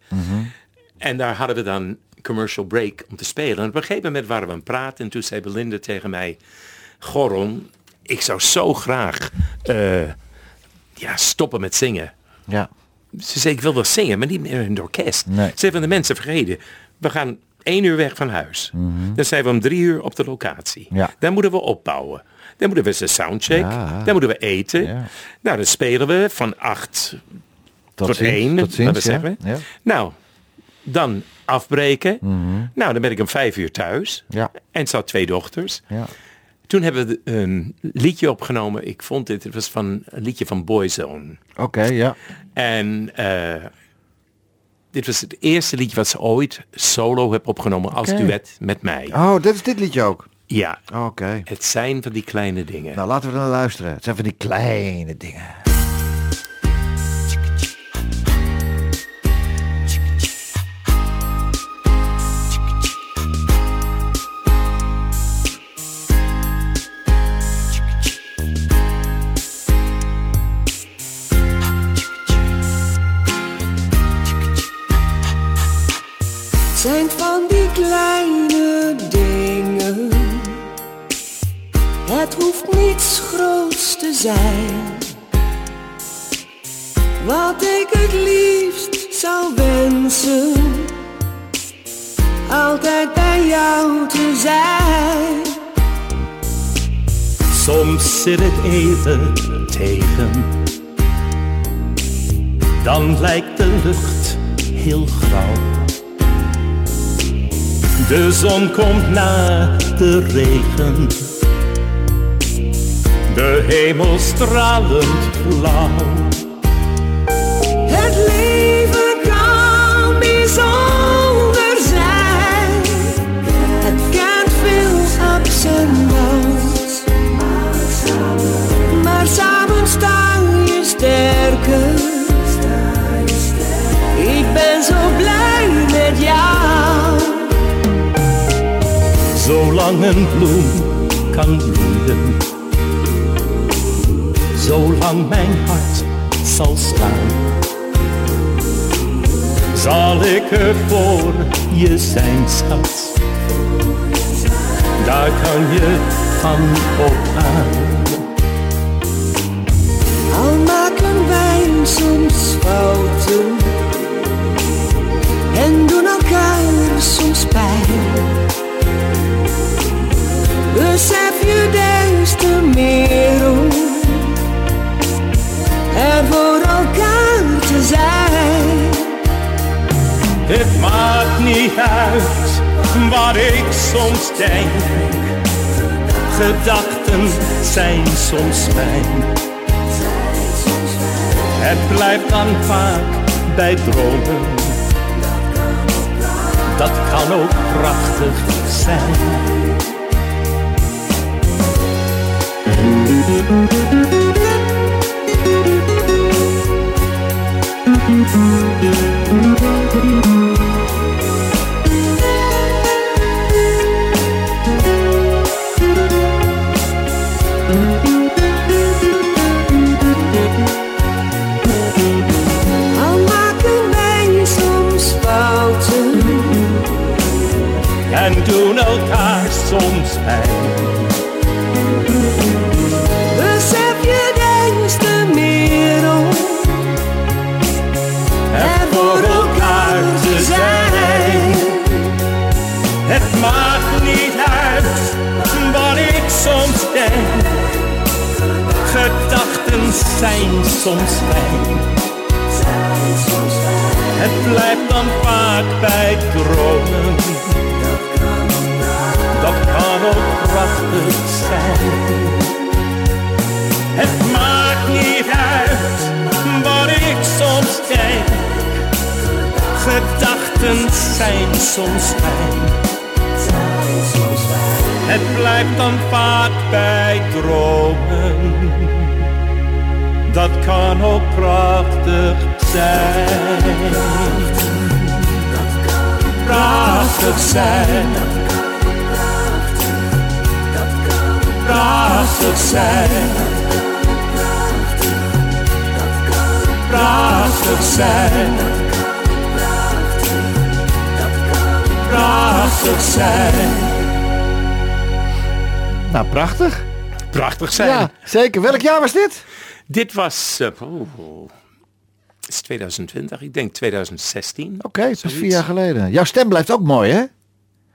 Speaker 5: En daar hadden we dan commercial break om te spelen. En op een gegeven moment waren we aan het praten. En toen zei Belinda tegen mij... Goron, ik zou zo graag eh, ja, stoppen met zingen.
Speaker 2: Ja.
Speaker 5: Ze zei, ik wil wel zingen, maar niet meer in het orkest.
Speaker 2: Nee.
Speaker 5: Ze hebben de mensen vergeten. We gaan één uur weg van huis. Dan zijn we om drie uur op de locatie.
Speaker 2: Mhm. Ja.
Speaker 5: Dan moeten we opbouwen. Dan moeten we eens een soundcheck. Dan moeten we eten.
Speaker 2: Ja.
Speaker 5: Nou, dan spelen we van acht
Speaker 2: Tot,
Speaker 5: tot
Speaker 2: ziens,
Speaker 5: één.
Speaker 2: Tot
Speaker 5: laten
Speaker 2: ziens,
Speaker 5: we
Speaker 2: ja.
Speaker 5: zeggen.
Speaker 2: Ja. Mhm.
Speaker 5: Nou, dan afbreken. Nou, dan ben ik om vijf uur thuis.
Speaker 2: Ja.
Speaker 5: En ze had twee dochters.
Speaker 2: Ja.
Speaker 5: Toen hebben we een liedje opgenomen. Ik vond dit, het was van een liedje van Boyzone.
Speaker 2: Oké, ja.
Speaker 5: En eh, dit was het eerste liedje wat ze ooit solo heb opgenomen als
Speaker 2: Oké.
Speaker 5: duet met mij.
Speaker 2: Oh, dit is dit liedje ook. Oh,
Speaker 5: Ja,
Speaker 2: Oké.
Speaker 5: het zijn van die kleine dingen.
Speaker 2: Nou, laten we dan luisteren. Het zijn van die kleine dingen.
Speaker 8: zijn van die kleine dingen. Het hoeft niets groots te zijn. Wat ik het liefst zou wensen, altijd bij jou te zijn.
Speaker 4: Soms zit het even tegen. Dan lijkt de lucht heel grauw. De zon komt na de regen. De hemel stralend blauw.
Speaker 8: Het leven kan bijzonder zijn. Het kent veel ups en downs. Maar samen sta je sterker. Ik ben zo blij met jou.
Speaker 4: Zolang een bloem kan bloeien, zolang mijn hart zal slaan, zal ik er voor je zijn, schat. Daar kan je van op aan.
Speaker 8: Al maken wij soms fouten en doen elkaar soms pijn. Besef je des te meer hoe er voor elkaar te zijn.
Speaker 4: Het maakt niet uit wat ik soms denk. Gedachten zijn soms fijn. Het blijft dan vaak bij dromen. Dat kan ook prachtig zijn.
Speaker 8: Al maken wij soms fouten,
Speaker 4: en doen elkaar soms pijn.
Speaker 8: besef je des te meer om
Speaker 4: En voor elkaar te zijn. Het maakt niet uit wat ik soms denk. Gedachten zijn soms fijn. Het blijft dan vaak bij dromen. Dat kan ook prachtig zijn. Het maakt niet uit wat ik soms denk. Gedachten zijn soms fijn. Het blijft dan vaak bij dromen. Dat kan ook prachtig zijn. Prachtig zijn. Prachtig zijn. Prachtig zijn. Prachtig zijn.
Speaker 2: Nou, prachtig.
Speaker 5: Prachtig zijn.
Speaker 2: Ja, zeker. Welk jaar was dit?
Speaker 5: Dit was... eh, oh, oh. Het is 2020, ik denk 2016.
Speaker 2: Oké, het is
Speaker 5: Zoiets.
Speaker 2: vier jaar geleden. Jouw stem blijft ook mooi, hè?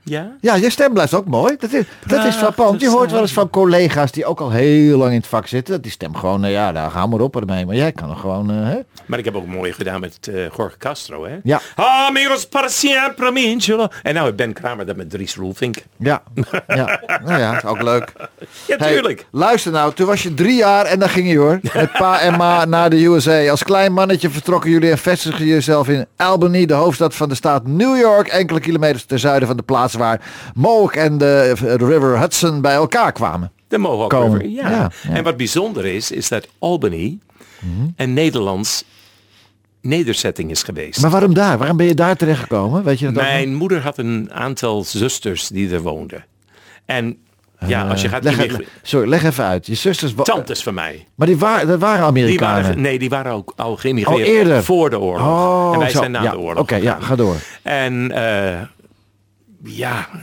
Speaker 5: Ja?
Speaker 2: Ja, je stem blijft ook mooi. Dat is, dat is frappant. Je hoort wel eens van collega's die ook al heel lang in het vak zitten. Dat die stem gewoon, nou ja, daar gaan we op ermee. Maar jij kan er gewoon, eh, hè?
Speaker 5: Maar ik heb ook mooi gedaan met eh, Jorge Castro, hè?
Speaker 2: Ja.
Speaker 5: Amigos para siempre, minchelo. En nou Ben Kramer dat met Dries Roelvink.
Speaker 2: Ja. ja. Nou ja, is ook leuk.
Speaker 5: Ja,
Speaker 2: Hey,
Speaker 5: tuurlijk.
Speaker 2: luister nou, toen was je drie jaar en dan ging je hoor. Met pa en ma naar de USA. Als klein mannetje vertrokken jullie en vestigden jezelf in Albany, de hoofdstad van de staat New York, enkele kilometers ten zuiden van de plaats waar Mohawk en de eh, River Hudson bij elkaar kwamen.
Speaker 5: De Mohawk
Speaker 2: Komen.
Speaker 5: River, ja.
Speaker 2: Ja, ja. Mhm.
Speaker 5: En wat bijzonder is, is dat Albany een Nederlands nederzetting is geweest.
Speaker 2: Maar waarom daar? Waarom ben je daar terechtgekomen? Weet je dat ook
Speaker 5: Mijn moeder had een aantal zusters die er woonden. En ja, als je gaat...
Speaker 2: nog? Eh, leg,
Speaker 5: niet
Speaker 2: le-
Speaker 5: meer-
Speaker 2: sorry, leg even uit. Je zusters... wa-
Speaker 5: Tantes van mij.
Speaker 2: Maar die waren, dat waren
Speaker 5: Die
Speaker 2: Amerikanen.
Speaker 5: waren, nee, die waren ook al
Speaker 2: Oh,
Speaker 5: geïmigreerd
Speaker 2: eerder.
Speaker 5: voor de oorlog.
Speaker 2: Oh,
Speaker 5: en wij
Speaker 2: zo.
Speaker 5: zijn na
Speaker 2: Ja,
Speaker 5: de oorlog.
Speaker 2: Oké, ja, ga door.
Speaker 5: En eh, ja, eh,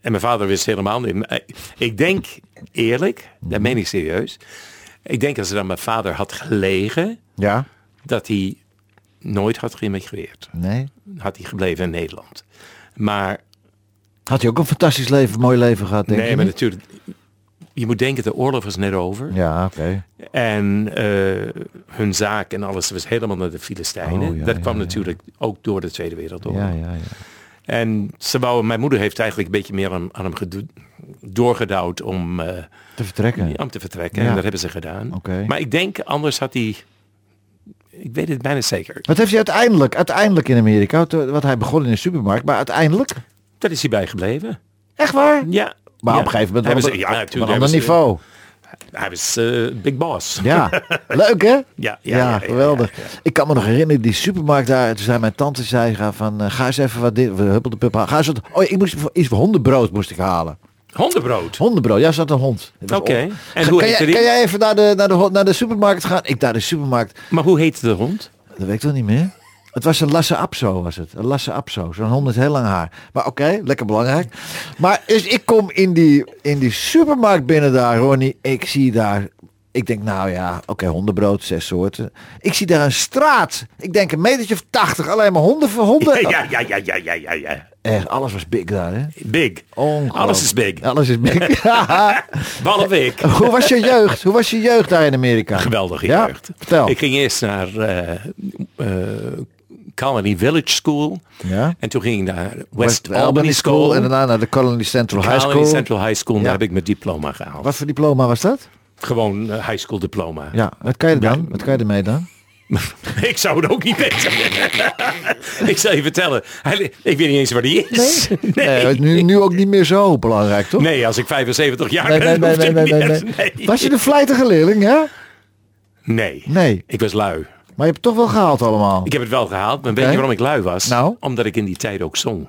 Speaker 5: en mijn vader wist helemaal niet. Maar, eh, Ik denk eerlijk, dat meen ik serieus. Ik denk als er aan mijn vader had gelegen,
Speaker 2: Ja?
Speaker 5: dat hij nooit had geëmigreerd.
Speaker 2: Nee?
Speaker 5: Had hij gebleven in Nederland. Maar
Speaker 2: Had hij ook een fantastisch leven, mooi leven gehad, denk
Speaker 5: nee,
Speaker 2: je
Speaker 5: maar
Speaker 2: niet?
Speaker 5: natuurlijk. Je moet denken, de oorlog was net over.
Speaker 2: Ja, oké.
Speaker 5: En eh, hun zaak en alles was helemaal naar de Filistijnen.
Speaker 2: Oh, ja,
Speaker 5: dat
Speaker 2: ja,
Speaker 5: kwam
Speaker 2: ja.
Speaker 5: natuurlijk ook door de Tweede Wereldoorlog.
Speaker 2: Ja, ja, ja.
Speaker 5: En ze wou, mijn moeder heeft eigenlijk een beetje meer aan, aan hem gedo- doorgedouwd om, eh,
Speaker 2: Te vertrekken.
Speaker 5: om te vertrekken.
Speaker 2: Ja.
Speaker 5: En dat hebben ze gedaan.
Speaker 2: Oké.
Speaker 5: Maar ik denk, anders had hij... Ik weet het bijna zeker.
Speaker 2: Wat heeft hij uiteindelijk, uiteindelijk in Amerika? Te- Wat hij begon in de supermarkt, maar uiteindelijk?
Speaker 5: Dat is hierbij gebleven.
Speaker 2: Echt waar?
Speaker 5: Ja.
Speaker 2: Maar
Speaker 5: Ja.
Speaker 2: op een gegeven moment
Speaker 5: Hebben
Speaker 2: wel
Speaker 5: ze-
Speaker 2: op
Speaker 5: ja,
Speaker 2: een-
Speaker 5: natuurlijk,
Speaker 2: op een
Speaker 5: hebben
Speaker 2: ander
Speaker 5: ze-
Speaker 2: niveau.
Speaker 5: Hij was eh, big boss. *laughs*
Speaker 2: Ja, leuk hè? Ja,
Speaker 5: ja, ja, ja, ja,
Speaker 2: geweldig.
Speaker 5: ja, ja.
Speaker 2: Ik kan me nog herinneren, die supermarkt daar, toen zei mijn tante, zei ga van, eh, ga eens even wat dit, we huppelde pup halen. Ga eens wat, oh, ik moest voor- iets voor hondenbrood moest ik halen.
Speaker 5: Hondenbrood.
Speaker 2: Hondenbrood, ja, er zat een hond. Het was
Speaker 5: Oké.
Speaker 2: op.
Speaker 5: En
Speaker 2: Ga-
Speaker 5: hoe
Speaker 2: kan,
Speaker 5: heette
Speaker 2: jij,
Speaker 5: die?
Speaker 2: kan jij even naar de, naar, de, hond- naar de supermarkt gaan? Ik naar de supermarkt,
Speaker 5: Maar hoe heette de hond?
Speaker 2: dat weet ik wel niet meer. Het was een Lasse Apso, was het. Een Lasse Apso. Zo'n hond met heel lang haar. Maar oké, lekker belangrijk. Maar dus ik kom in die, in die supermarkt binnen daar, Ronnie. Ik zie daar... Ik denk, nou ja, oké, hondenbrood, zes soorten. Ik zie daar een straat. Ik denk een metertje of tachtig. Alleen maar honden voor honden.
Speaker 5: Ja, ja, ja, ja, ja, ja, ja.
Speaker 2: Echt, alles was big daar, hè?
Speaker 5: Big.
Speaker 2: Ongelooflijk.
Speaker 5: Alles is big.
Speaker 2: Alles is big. *laughs* Ja.
Speaker 5: Behalve ik.
Speaker 2: *laughs* Hoe was je jeugd? Hoe was je jeugd daar in Amerika?
Speaker 5: Geweldige
Speaker 2: Ja?
Speaker 5: jeugd.
Speaker 2: Vertel.
Speaker 5: Ik ging eerst naar eh, eh, Colony Village School.
Speaker 2: Ja?
Speaker 5: En toen ging ik naar West,
Speaker 2: West
Speaker 5: Albany, School.
Speaker 2: en daarna naar de Colony Central
Speaker 5: Colony
Speaker 2: High School.
Speaker 5: Central High School.
Speaker 2: Ja.
Speaker 5: Daar heb ik mijn diploma gehaald.
Speaker 2: Wat voor diploma was dat?
Speaker 5: Gewoon eh, high school diploma.
Speaker 2: Ja, wat kan je er dan? Wat kan je ermee dan?
Speaker 5: *laughs* ik zou het ook niet weten. *laughs* ik zal je vertellen. Hij- ik weet niet eens waar die is.
Speaker 2: Nee, nu, nu ook niet meer zo belangrijk, toch?
Speaker 5: Nee, als ik 75 jaar
Speaker 2: nee, nee,
Speaker 5: ben,
Speaker 2: nee,
Speaker 5: hoeft
Speaker 2: nee,
Speaker 5: het
Speaker 2: nee, nee,
Speaker 5: niet
Speaker 2: nee.
Speaker 5: meer. Nee.
Speaker 2: Was je de vlijtige leerling, hè?
Speaker 5: Nee.
Speaker 2: Nee.
Speaker 5: Ik was lui.
Speaker 2: Maar je hebt het toch wel gehaald allemaal.
Speaker 5: Ik heb het wel gehaald, maar weet je
Speaker 2: Oké.
Speaker 5: waarom ik lui was?
Speaker 2: Nou?
Speaker 5: Omdat ik in die tijd ook zong.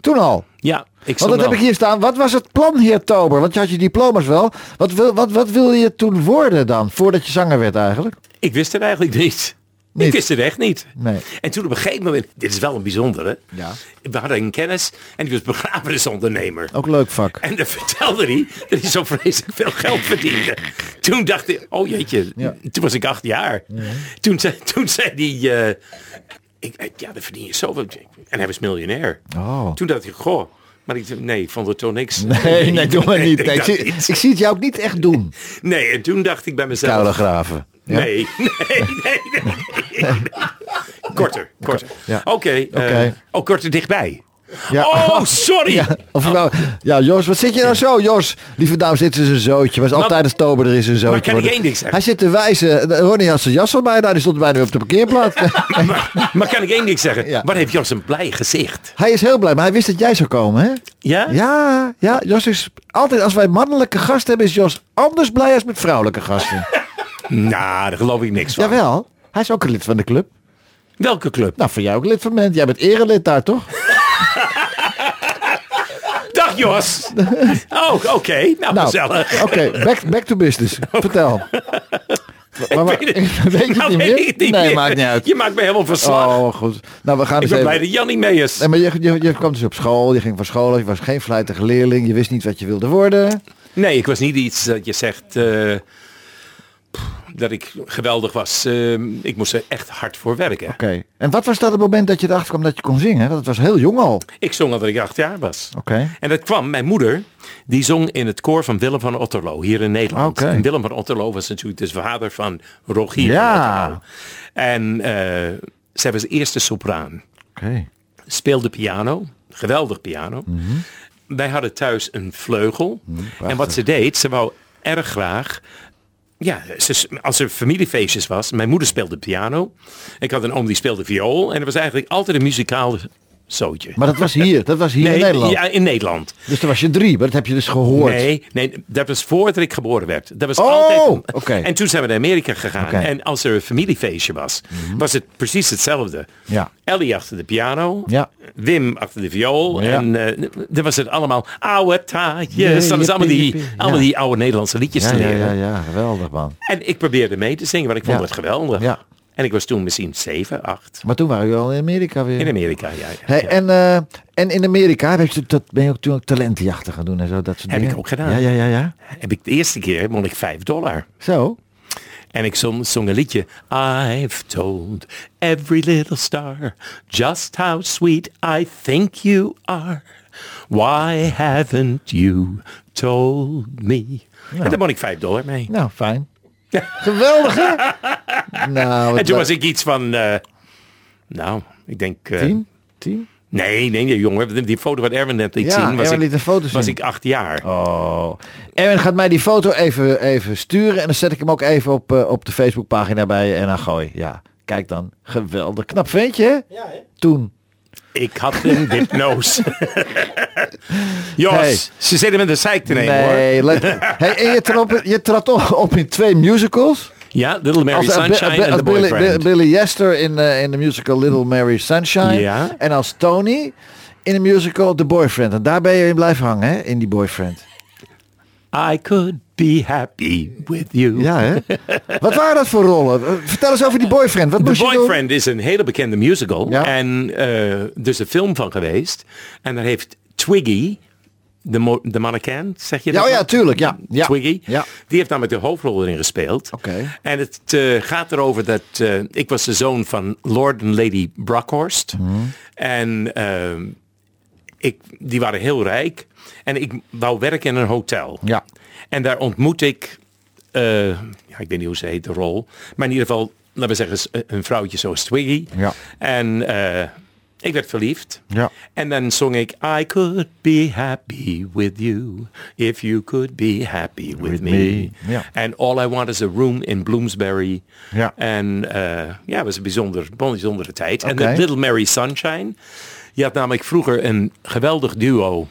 Speaker 2: Toen al.
Speaker 5: Ja, ik
Speaker 2: Want
Speaker 5: stond
Speaker 2: dat heb
Speaker 5: al-
Speaker 2: ik hier staan. Wat was het plan, heer Tober? Want je had je diploma's wel. Wat, wil, wat, wat wilde je toen worden dan? Voordat je zanger werd eigenlijk?
Speaker 5: Ik wist het eigenlijk niet.
Speaker 2: Niet.
Speaker 5: Ik wist het echt niet.
Speaker 2: Nee.
Speaker 5: En toen op een gegeven moment, dit is wel een bijzondere.
Speaker 2: Ja.
Speaker 5: We hadden een kennis en die was begrafenisondernemer.
Speaker 2: Ook leuk vak.
Speaker 5: En dan vertelde hij dat hij zo vreselijk veel geld verdiende. Toen dacht ik, oh jeetje,
Speaker 2: Ja.
Speaker 5: toen was ik acht jaar. Toen zei, toen zei hij, eh, ik, eh, ja, dan verdien je zoveel. En hij was miljonair.
Speaker 2: Oh.
Speaker 5: Toen dacht ik, goh. Maar ik, nee, ik vond het toch niks.
Speaker 2: Nee, nee, doe maar niet.
Speaker 5: ik
Speaker 2: Nee, ik,
Speaker 5: dacht
Speaker 2: zie,
Speaker 5: niet.
Speaker 2: ik zie het jou ook niet echt doen.
Speaker 5: Nee, en toen dacht ik bij mezelf.
Speaker 2: Kuilen graven. Ja?
Speaker 5: Nee, nee, nee, nee. Korter, korter.
Speaker 2: Ja.
Speaker 5: Oké, eh,
Speaker 2: Oké.
Speaker 5: oh, korter dichtbij.
Speaker 2: Ja.
Speaker 5: Oh,
Speaker 2: *laughs*
Speaker 5: sorry.
Speaker 2: Ja, of nou, ja, Jos, wat zit je nou zo, Jos? Lieve dames, dit is een zootje. Was altijd een tober, er is een zootje.
Speaker 5: kan ik
Speaker 2: worden.
Speaker 5: één ding zeggen?
Speaker 2: Hij zit te wijzen. Eh, Ronnie had zijn jas al bijna. Die stond bijna op de
Speaker 5: *laughs*
Speaker 2: parkeerplaats.
Speaker 5: Maar, maar kan ik één ding zeggen?
Speaker 2: Ja.
Speaker 5: Wat heeft Jos een blij gezicht?
Speaker 2: hij is heel blij, maar hij wist dat jij zou komen, hè?
Speaker 5: Ja?
Speaker 2: Ja, ja, Jos is altijd, als wij mannelijke gasten hebben, is Jos anders blij als met vrouwelijke
Speaker 5: *laughs*
Speaker 2: gasten.
Speaker 5: Nou, daar geloof ik niks van.
Speaker 2: Jawel, hij is ook een lid van de club.
Speaker 5: Welke club?
Speaker 2: Nou, van jou ook lid van Ment. Jij bent erelid daar, toch? *laughs*
Speaker 5: Dag Jos. Oh, oké. Nou,
Speaker 2: Nou,
Speaker 5: gezellig.
Speaker 2: Oké, back, back to business.
Speaker 5: *laughs*
Speaker 2: Vertel. Maar- maar-
Speaker 5: weet het-
Speaker 2: *laughs* weet je het
Speaker 5: Nou,
Speaker 2: niet
Speaker 5: weet
Speaker 2: meer?
Speaker 5: ik het niet
Speaker 2: nee,
Speaker 5: meer.
Speaker 2: maakt niet
Speaker 5: *laughs*
Speaker 2: uit.
Speaker 5: Je maakt me helemaal verslag.
Speaker 2: Oh, goed. Nou, we gaan
Speaker 5: ik
Speaker 2: eens
Speaker 5: ben blij
Speaker 2: even...
Speaker 5: dat Jan niet mee is.
Speaker 2: Nee, maar je, je, je kwam dus op school, je ging van school, af, je was geen vlijtige leerling, je wist niet wat je wilde worden.
Speaker 5: Nee, ik was niet iets dat je zegt eh, pff, dat ik geweldig was. Eh, ik moest er echt hard voor werken.
Speaker 2: Oké. En wat was dat het moment dat je erachter kwam dat je kon zingen? Want het was heel jong al. Oké.
Speaker 5: Ik zong al dat ik acht jaar was. En dat kwam, mijn moeder, die zong in het koor van Willem van Otterlo, hier in Nederland.
Speaker 2: Oké.
Speaker 5: En Willem van Otterlo was natuurlijk de vader van Rogier
Speaker 2: Ja.
Speaker 5: van Otterlo. En eh, zij was eerste sopraan.
Speaker 2: Oké.
Speaker 5: speelde piano, geweldig piano.
Speaker 2: Mhm.
Speaker 5: Wij hadden thuis een vleugel. en wat ze deed, ze wou erg graag. Ja, ze, als er familiefeestjes was, mijn moeder speelde piano. Ik had een oom die speelde viool. En er was eigenlijk altijd een muzikaal zootje.
Speaker 2: Maar dat was hier, dat was hier in Nederland.
Speaker 5: Ja, in Nederland.
Speaker 2: Dus toen was je drie, maar dat heb je dus gehoord.
Speaker 5: Nee, nee, dat was voordat ik geboren werd. Dat was
Speaker 2: Oh,
Speaker 5: altijd.
Speaker 2: oké.
Speaker 5: En toen zijn we naar Amerika gegaan.
Speaker 2: Oké. Mhm.
Speaker 5: En als er een familiefeestje was, was het precies hetzelfde.
Speaker 2: Ja.
Speaker 5: Ellie achter de piano,
Speaker 2: Ja. Oh,
Speaker 5: Wim achter de viool.
Speaker 2: Ja.
Speaker 5: En eh dan was het allemaal oude
Speaker 2: Jee,
Speaker 5: taartjes. Dat was
Speaker 2: jippie,
Speaker 5: allemaal die,
Speaker 2: jippie.
Speaker 5: allemaal
Speaker 2: Ja.
Speaker 5: die oude Nederlandse liedjes
Speaker 2: Ja,
Speaker 5: te
Speaker 2: ja,
Speaker 5: leren.
Speaker 2: ja, ja, geweldig man.
Speaker 5: En ik probeerde mee te zingen, want ik vond
Speaker 2: Ja.
Speaker 5: het geweldig.
Speaker 2: Ja.
Speaker 5: En ik was toen misschien 7, 8
Speaker 2: Maar toen waren we al in Amerika weer.
Speaker 5: in Amerika. Ja, ja.
Speaker 2: Hey,
Speaker 5: Ja.
Speaker 2: en, eh, en in Amerika heb je, dat ben je ook toen ook talentenjachten gaan doen en zo. Dat soort
Speaker 5: Heb
Speaker 2: dingen.
Speaker 5: ik ook gedaan.
Speaker 2: Ja, ja, ja, ja.
Speaker 5: Heb ik de eerste keer won ik 5 dollar.
Speaker 2: Zo.
Speaker 5: En ik zong, zong een liedje. I've told every little star just how sweet I think you are. Why haven't you told me? En daar won ik 5 dollar mee.
Speaker 2: Nou,
Speaker 5: *laughs*
Speaker 2: fijn. Geweldig hè? nou, wat
Speaker 5: en toen
Speaker 2: leuk.
Speaker 5: was ik iets van, eh, nou, ik denk... eh,
Speaker 2: Tien? Tien?
Speaker 5: Nee, nee, nee, jongen. Die- Die foto wat Erwin net liet
Speaker 2: Ja,
Speaker 5: zien, was,
Speaker 2: Erwin
Speaker 5: ik,
Speaker 2: liet een foto
Speaker 5: was
Speaker 2: zien.
Speaker 5: ik acht jaar.
Speaker 2: Oh. Erwin gaat mij die foto even, even sturen. En dan zet ik hem ook even op, eh, op de Facebookpagina bij je. En dan gooi. Ja, kijk dan. Geweldig. Knap ventje. hè?
Speaker 7: Ja, hè?
Speaker 2: Toen.
Speaker 5: Ik had
Speaker 2: *laughs*
Speaker 5: een dipnoos. Jos,
Speaker 2: Hey.
Speaker 5: ze zitten met een zeik te nemen hoor.
Speaker 2: let-
Speaker 5: *laughs*
Speaker 2: hey, en je trad, op, je trad op, op in twee musicals.
Speaker 5: Ja, Little Mary
Speaker 2: eh, Bi-
Speaker 5: Sunshine
Speaker 2: Bi-
Speaker 5: en The
Speaker 2: Billy,
Speaker 5: Boyfriend.
Speaker 2: Bi- Billy Yester in, eh, in de musical Little Mary Sunshine.
Speaker 5: Ja.
Speaker 2: En als Tony in de musical The Boyfriend. En daar ben je in blijven hangen, hè? In die Boyfriend.
Speaker 5: I could be happy with you.
Speaker 2: Ja, hè? *laughs* Wat waren dat voor rollen? Eh, Vertel eens over die Boyfriend. Wat
Speaker 5: The
Speaker 2: moest je doen?
Speaker 5: Boyfriend is een hele bekende musical.
Speaker 2: Ja.
Speaker 5: En eh dus een film van geweest. En daar heeft Twiggy, de, mo- de mannequin, zeg je
Speaker 2: Ja,
Speaker 5: dat?
Speaker 2: oh ja,
Speaker 5: nou?
Speaker 2: tuurlijk. Ja, ja.
Speaker 5: Twiggy.
Speaker 2: Ja.
Speaker 5: Die heeft namelijk de hoofdrol erin gespeeld.
Speaker 2: Oké.
Speaker 5: En het eh, gaat erover dat eh, ik was de zoon van Lord en Lady Brockhorst.
Speaker 2: Mhm.
Speaker 5: En eh, ik, die waren heel rijk. En ik wou werken in een hotel.
Speaker 2: Ja.
Speaker 5: En daar ontmoet ik, eh, ja, ik weet niet hoe ze heet, de rol. Maar in ieder geval, laten we zeggen, s- een vrouwtje zoals Twiggy.
Speaker 2: Ja.
Speaker 5: En eh, ik werd verliefd.
Speaker 2: Ja.
Speaker 5: En dan zong ik, I could be happy with you, if you could be happy with,
Speaker 2: With
Speaker 5: me.
Speaker 2: me. Ja.
Speaker 5: And all I want is a room in Bloomsbury.
Speaker 2: Ja.
Speaker 5: En eh, ja, het was een bijzonder, bijzondere tijd. En
Speaker 2: Oké.
Speaker 5: de Little Mary Sunshine. Je had namelijk vroeger een geweldig duo.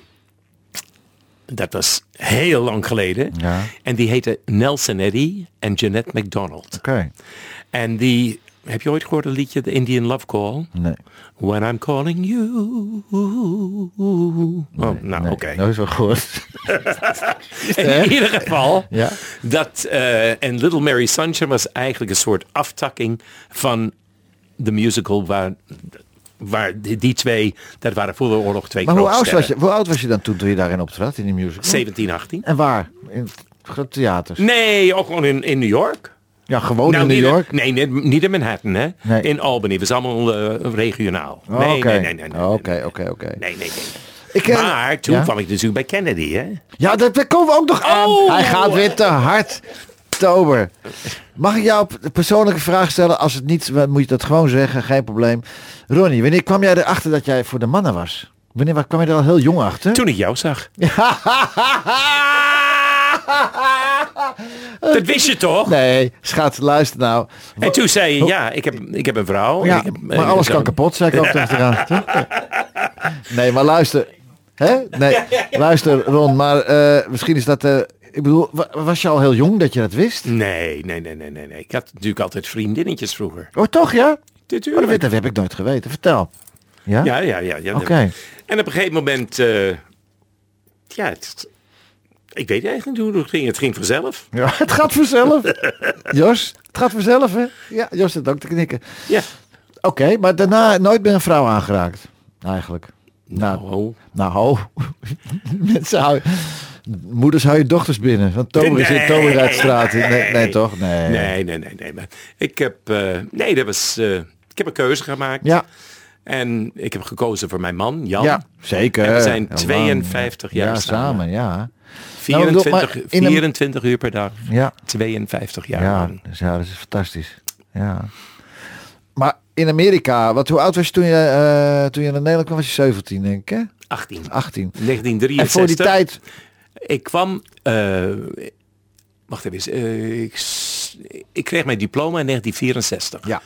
Speaker 5: Dat was heel lang geleden.
Speaker 2: Ja.
Speaker 5: En die heette Nelson Eddy en Jeanette McDonald.
Speaker 2: Oké.
Speaker 5: En die Heb je ooit gehoord het liedje The Indian Love Call?
Speaker 2: Nee.
Speaker 5: When I'm calling you. Oh, nou
Speaker 2: nee.
Speaker 5: oké.
Speaker 2: Dat is wel
Speaker 5: *laughs*
Speaker 2: goed.
Speaker 5: In ieder
Speaker 2: *laughs*
Speaker 5: geval,
Speaker 2: Ja.
Speaker 5: dat, eh, en Little Mary Sunshine was eigenlijk een soort aftakking van de musical waar, waar die, die twee, dat waren voor de oorlog twee
Speaker 2: Maar hoe
Speaker 5: grote
Speaker 2: oud, was je,
Speaker 5: sterren.
Speaker 2: hoe oud was je dan toen, toen je daarin optrad, in die musical?
Speaker 5: 17, 18.
Speaker 2: En waar? In het theaters?
Speaker 5: Nee, ook gewoon in, in New York.
Speaker 2: Ja, gewoon in
Speaker 5: Nou, niet
Speaker 2: New York?
Speaker 5: nee, nee, niet in Manhattan, hè.
Speaker 2: Nee.
Speaker 5: In Albany. Het was allemaal eh, regionaal.
Speaker 2: Oh,
Speaker 5: nee,
Speaker 2: oké.
Speaker 5: nee, nee, nee, nee.
Speaker 2: Oh, Oké, oké, oké.
Speaker 5: Nee, nee, nee.
Speaker 2: Ik, eh,
Speaker 5: Maar toen
Speaker 2: ja?
Speaker 5: kwam ik natuurlijk bij Kennedy, hè?
Speaker 2: Ja, dat- daar komen we ook nog aan.
Speaker 5: Oh!
Speaker 2: Hij gaat weer te hard. Tober. Mag ik jou een persoonlijke vraag stellen? Als het niet, dan moet je dat gewoon zeggen. Geen probleem. Ronnie, wanneer kwam jij erachter dat jij voor de mannen was? Wanneer wa- kwam je er al heel jong achter?
Speaker 5: Toen ik jou zag. Dat wist je
Speaker 2: *laughs*
Speaker 5: toch?
Speaker 2: Nee, schat, luister nou.
Speaker 5: En toen zei je, ja, ik heb, ik heb een vrouw. en
Speaker 2: Ja,
Speaker 5: ik heb, eh,
Speaker 2: maar alles
Speaker 5: zo.
Speaker 2: kan kapot, zei ik ook tegen haar.
Speaker 5: *laughs*
Speaker 2: Nee, maar luister. Hè? Nee, luister Ron, maar eh, misschien is dat... eh, ik bedoel, wa- was je al heel jong dat je dat wist?
Speaker 5: Nee, nee, nee, nee, nee, nee. Ik had natuurlijk altijd vriendinnetjes vroeger.
Speaker 2: Oh, toch ja? Oh, dat, weet-
Speaker 5: Natuurlijk.
Speaker 2: dat heb ik nooit geweten. Vertel. Ja?
Speaker 5: Ja, ja, ja. ja
Speaker 2: Oké.
Speaker 5: En op een gegeven moment, eh, ja, het, ik weet eigenlijk niet hoe het ging. Het ging
Speaker 2: *laughs*
Speaker 5: vanzelf.
Speaker 2: Ja, het gaat vanzelf. Jos, het gaat vanzelf, hè? Ja, Jos zit ook te knikken.
Speaker 5: Ja.
Speaker 2: Oké, maar daarna nooit meer een vrouw aangeraakt. Eigenlijk. Nou,
Speaker 5: Oh.
Speaker 2: nou, *laughs* ho. Mensen houden... Moeders hou je dochters binnen. Want Tomer is in
Speaker 5: Nee.
Speaker 2: Tomer uit de straat. Nee, nee, toch? Nee.
Speaker 5: Nee, nee, nee, nee. Maar ik heb, eh, nee, dat was, eh, ik heb een keuze gemaakt.
Speaker 2: Ja,
Speaker 5: En ik heb gekozen voor mijn man, Jan.
Speaker 2: ja, zeker.
Speaker 5: En we zijn
Speaker 2: Ja,
Speaker 5: 52 jaar
Speaker 2: ja,
Speaker 5: samen.
Speaker 2: samen. Ja,
Speaker 5: 24,
Speaker 2: Nou, ik bedoel, maar in een-
Speaker 5: 24 uur per dag.
Speaker 2: ja.
Speaker 5: 52 jaar
Speaker 2: Ja,
Speaker 5: lang.
Speaker 2: dus ja, dat is fantastisch. Ja. Maar in Amerika, wat, hoe oud was je toen je, eh, toen je naar Nederland kwam? Was je 17, denk ik, hè?
Speaker 5: 18.
Speaker 2: 18. En
Speaker 5: 1963.
Speaker 2: voor die tijd...
Speaker 5: Ik kwam... eh, wacht even. eens, eh, ik, s- ik kreeg mijn diploma in 1964.
Speaker 2: Ja.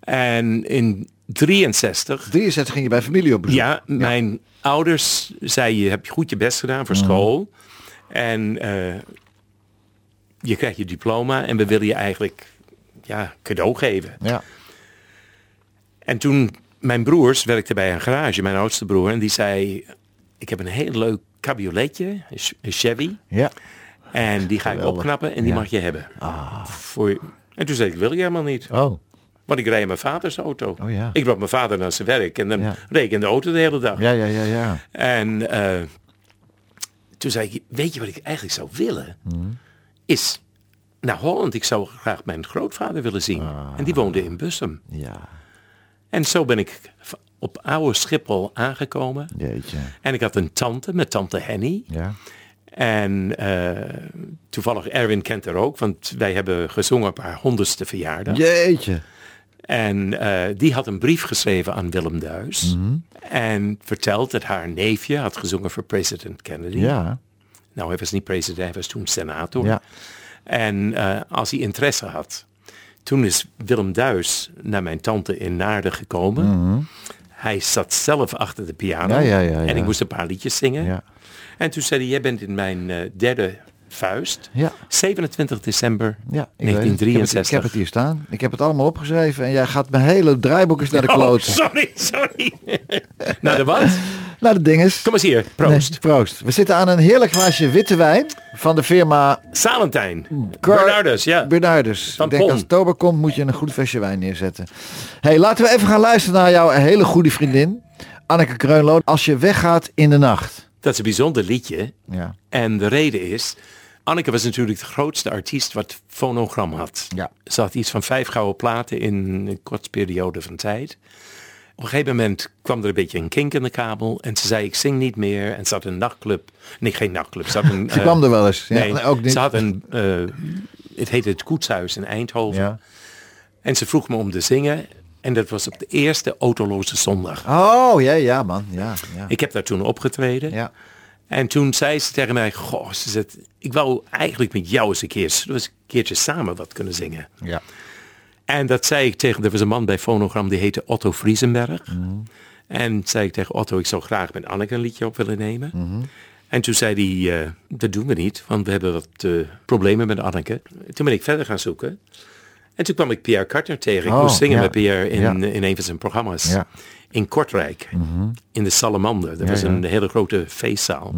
Speaker 5: En in 63...
Speaker 2: 63 ging je bij familie op bezoek.
Speaker 5: Ja, mijn ouders zeiden, je hebt goed je best gedaan voor
Speaker 2: Mhm.
Speaker 5: school. En eh, je krijgt je diploma en we willen je eigenlijk ja, cadeau geven.
Speaker 2: Ja.
Speaker 5: En toen, mijn broers werkten bij een garage, mijn oudste broer. En die zei, ik heb een heel leuk cabrioletje, een Ch- een Chevy.
Speaker 2: Ja.
Speaker 5: En die ga ik
Speaker 2: Geweldig. Ah.
Speaker 5: opknappen en die mag je hebben. Voor je. En toen zei ik, wil je helemaal niet.
Speaker 2: Oh.
Speaker 5: Want ik rijd in mijn vaders auto.
Speaker 2: Oh ja.
Speaker 5: Ik bracht mijn vader naar zijn werk en dan
Speaker 2: Ja.
Speaker 5: reed ik in de auto de hele dag.
Speaker 2: Ja, ja, ja, ja.
Speaker 5: En eh, toen zei ik, weet je wat ik eigenlijk zou willen?
Speaker 2: Hmm.
Speaker 5: Is naar Holland. Ik zou graag mijn grootvader willen zien.
Speaker 2: Ah.
Speaker 5: En die woonde in Bussum.
Speaker 2: Ja.
Speaker 5: En zo ben ik v- op oude Schiphol aangekomen.
Speaker 2: Jeetje.
Speaker 5: En ik had een tante, met tante Henny.
Speaker 2: Ja.
Speaker 5: En eh, toevallig Erwin kent er ook, want wij hebben gezongen op haar honderdste verjaardag.
Speaker 2: Jeetje.
Speaker 5: En eh, die had een brief geschreven aan Willem Duis.
Speaker 2: Mhm.
Speaker 5: En verteld dat haar neefje had gezongen voor president Kennedy.
Speaker 2: Ja.
Speaker 5: Nou, hij was niet president, hij was toen senator.
Speaker 2: Ja.
Speaker 5: En eh, als hij interesse had. Toen is Willem Duis naar mijn tante in Naarden gekomen. Hij zat zelf achter de piano.
Speaker 2: Mhm. Ja, ja, ja, ja.
Speaker 5: En ik moest een paar liedjes zingen.
Speaker 2: Ja.
Speaker 5: En toen zei hij, jij bent in mijn eh, derde vuist.
Speaker 2: Ja.
Speaker 5: 27 december
Speaker 2: Ja, ik weet het. Ik heb, het,
Speaker 5: 1963.
Speaker 2: ik heb het hier staan. Ik heb het allemaal opgeschreven en jij gaat mijn hele draaiboek eens naar de
Speaker 5: Oh,
Speaker 2: kloot.
Speaker 5: sorry,
Speaker 2: *laughs*
Speaker 5: sorry. nou, de wat?
Speaker 2: Naar de dinges.
Speaker 5: Kom eens hier, proost.
Speaker 2: Nee, proost. We zitten aan een heerlijk glaasje witte wijn van de firma
Speaker 5: Salentijn.
Speaker 2: Car-
Speaker 5: Bernardus, ja.
Speaker 2: Bernardus.
Speaker 5: Eh, Van
Speaker 2: ik denk
Speaker 5: Pon.
Speaker 2: als Tober komt moet je een goed flesje wijn neerzetten. hey, laten we even gaan luisteren naar jouw hele goede vriendin. Anneke Kreunlo. Als je weggaat in de nacht.
Speaker 5: Dat is een bijzonder liedje.
Speaker 2: Ja.
Speaker 5: En de reden is, Anneke was natuurlijk de grootste artiest wat fonogram had.
Speaker 2: Ja.
Speaker 5: Ze had iets van vijf gouden platen in een korte periode van tijd. Op een gegeven moment kwam er een beetje een kink in de kabel. En ze zei, ik zing niet meer. En ze had een nachtclub. Nee, geen nachtclub. Ze,
Speaker 2: *laughs*
Speaker 5: had een, eh,
Speaker 2: Ze kwam er wel eens. Ja,
Speaker 5: nee,
Speaker 2: nee, ook niet.
Speaker 5: ze had een... eh, het heette het Koetshuis in Eindhoven.
Speaker 2: Ja.
Speaker 5: En ze vroeg me om te zingen. En dat was op de eerste autoloze zondag.
Speaker 2: Oh, ja, ja man. Ja, ja.
Speaker 5: Ik heb daar toen opgetreden.
Speaker 2: ja.
Speaker 5: En toen zei ze tegen mij, goh, ze zegt, ik wou eigenlijk met jou eens een keer, zullen we eens een keertje samen wat kunnen zingen.
Speaker 2: ja.
Speaker 5: En dat zei ik tegen, er was een man bij Fonogram, die heette Otto Friesenberg.
Speaker 2: Mhm.
Speaker 5: En zei ik tegen Otto, ik zou graag met Anneke een liedje op willen nemen.
Speaker 2: Mhm.
Speaker 5: En toen zei hij, eh, dat doen we niet, want we hebben wat eh, problemen met Anneke. Toen ben ik verder gaan zoeken. En toen kwam ik Pierre Carter tegen. Ik
Speaker 2: Oh,
Speaker 5: moest zingen
Speaker 2: ja.
Speaker 5: met Pierre in, eh,
Speaker 2: Ja.
Speaker 5: in een van zijn programma's.
Speaker 2: Ja. Mhm.
Speaker 5: In Kortrijk, in de Salamander. Dat was
Speaker 2: ja. Mhm.
Speaker 5: een hele grote feestzaal.